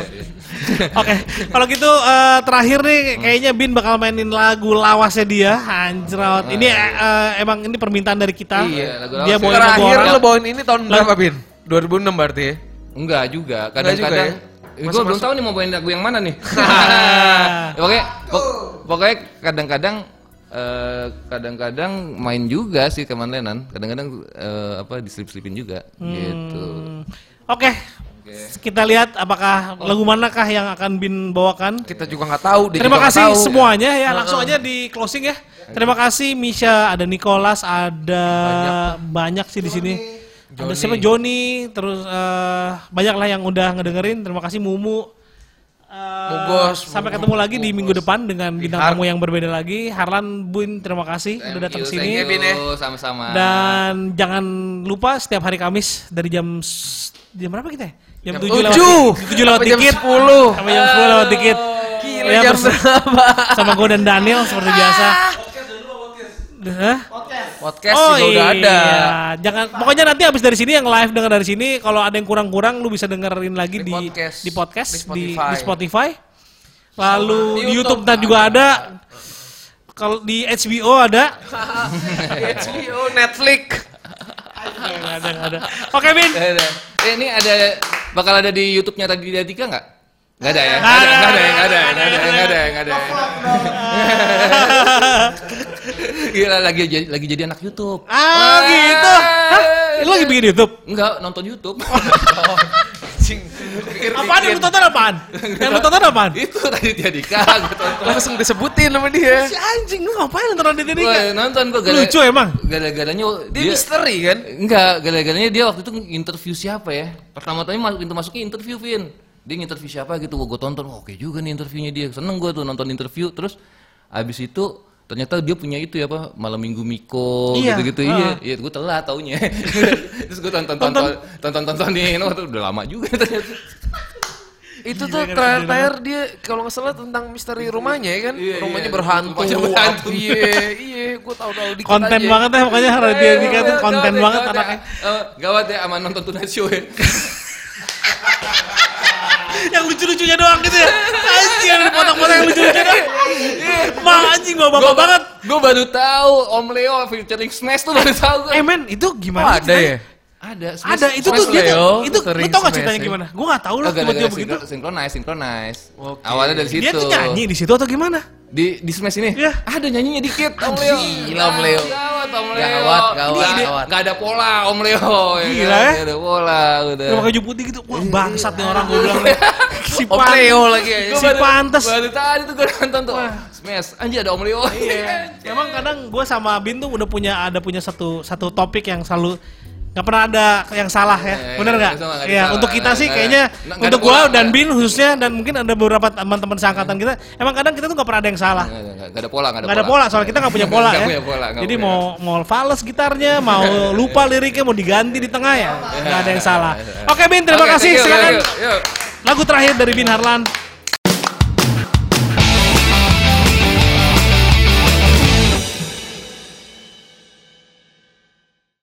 Oke, kalau gitu eh, terakhir nih Hmm. kayaknya Bin bakal mainin lagu lawasnya dia, anjrat. Ini eh, eh, emang ini permintaan dari kita. Hmm. Iya, lagu Dia lawas. bawain lagu Terakhir orang. lo bawain ini tahun berapa, Bin? 2006 berarti ya? Enggak juga. Kadang-kadang juga gue belum tahu nih mau bawain lagu yang mana nih. Ya, pokoknya pok- pokoknya kadang-kadang eh, kadang-kadang main juga sih kemalenan. Kadang-kadang eh, apa diselip-selipin juga gitu. Hmm. Oke. Kita lihat apakah Oh. lagu manakah yang akan Bin bawakan. Kita juga nggak tahu. dia Terima juga nggak kasih tahu. semuanya ya. Langsung aja di closing ya. Terima kasih Misha, ada Nicholas, ada banyak, sih di sini. Ada siapa Joni, terus eh, banyak lah yang udah ngedengerin. Terima kasih Mumu. Eh, Mugos, sampai ketemu lagi di minggu depan dengan bintang Har- tamu yang berbeda lagi. Harlan Buin, terima kasih udah datang Thank you, sini. thank you. Bin, ya. Sama-sama. Dan jangan lupa setiap hari Kamis dari jam s- jam berapa kita? ya? Jam, Jam 7 lewat tujuh. 7 lewat Sampai jam dikit. 10. Sampai jam 10 lewat dikit. Gila, Ya, jam bers- berapa? sama gue dan Daniel seperti biasa. Hah? Oh, Podcast juga udah ada. iya. Jangan pokoknya nanti habis dari sini yang live dengar dari sini kalau ada yang kurang-kurang lu bisa dengerin lagi di Di di podcast podcast. di, Di di, Spotify. Spotify. Lalu Sama di di YouTube YouTube kan tadi juga ada. Kalau di HBO ada. HBO, oh, Netflix. Nggak ada, nggak ada. Oke, Bin. Eh, eh. Eh, ini ada bakal ada di YouTube-nya tadi dia tiga nggak? Nggak ada ya? Nggak Nggak ada, ada, nggak ada, nggak nggak ada, ada, nggak ada, ya, nggak ada, nggak ada. Gila lagi jadi- lagi jadi anak YouTube. Ah, gitu. Hah? Lu lagi bikin YouTube? Enggak, nonton YouTube. Apaan yang lu tonton apaan? Yang lu tonton apaan? Itu tadi dia Dika, gua tonton. Langsung disebutin sama dia. Si anjing lu ngapain nonton Raditya Dika? Gua nonton gua gara- Lucu emang. Gara-garanya Dia dia misteri kan? enggak, gara-garanya dia waktu itu interview siapa ya? Pertama tadi masuk pintu masuknya interview Vin. Dia nginterview siapa gitu, gua, gua tonton. Wah, Oke juga nih interviewnya dia. Seneng gua tuh nonton interview terus abis itu ternyata dia punya itu ya apa malam minggu Miko Iya, ah. gitu-gitu iya iya gue telat taunya terus gue tonton tonton tonton tontonin waktu udah lama juga ternyata Itu tuh terakhir dia kalau nggak salah tentang misteri rumahnya ya kan? Iya, rumahnya iya. berhantu. Rumahnya berhantu. Iya, iya, gua tahu-tahu dikit Konten aja. banget ya pokoknya Iya, Raditya Dika tuh konten banget anaknya. Eh, gawat ya aman nonton tunai show ya yang lucu-lucunya doang gitu ya. Anjing ada potong-potong yang lucu-lucunya doang. Mah anjing bawa bapak banget. Gue baru tahu Om Leo featuring Smash tuh baru tahu gue. Eh men, itu gimana? Oh, ada ceritanya? ya? Ada, Smash- Ada, itu Smash tuh dia Leo, tuh, itu lu sering tau gak smash, ceritanya ya. gimana? Gue gak tau Oh, lah tiba-tiba gara-gara begitu. begitu. Synchronize, synchronize. Awalnya dari situ. Dia tuh nyanyi di situ atau gimana? Di, di Smash ini? Iya. Ada nyanyinya dikit, Om Leo. Gila, Om Leo. Gawat, Om Leo. Gawat, gawat, Ini dia, gawat. Gak ada pola, Om Leo. Gila, ya kan? ya? Gak ada pola, udah. Dia pakai baju putih gitu. Iya, Wah bangsat nih orang gue bilang. Si Om pan- Leo lagi ya. Si pantes. Baru tadi tuh gue nonton tuh. Smash, anjir ada Om Leo. Iya. Emang kadang gue sama Bin tuh udah punya ada punya satu satu topik yang selalu nggak pernah ada yang salah ya, Iya, bener iya, nggak? sama, nggak ada Iya, salah. untuk kita Nggak- sih nggak- kayaknya nggak ada untuk gue kurang, dan nggak. Bin khususnya dan mungkin ada beberapa teman-teman seangkatan kita, emang kadang kita tuh nggak pernah ada yang salah. Nggak ada, nggak- nggak ada pola, nggak ada Nggak ada pola, soalnya kita nggak punya pola Nggak ya. punya pola, nggak Jadi punya. mau mau fals gitarnya, mau lupa liriknya, mau diganti di tengah ya, nggak ada yang salah. Oke Bin, terima Oke, kasih. thank you, Silakan thank you. Yuk. lagu terakhir dari Bin Harlan.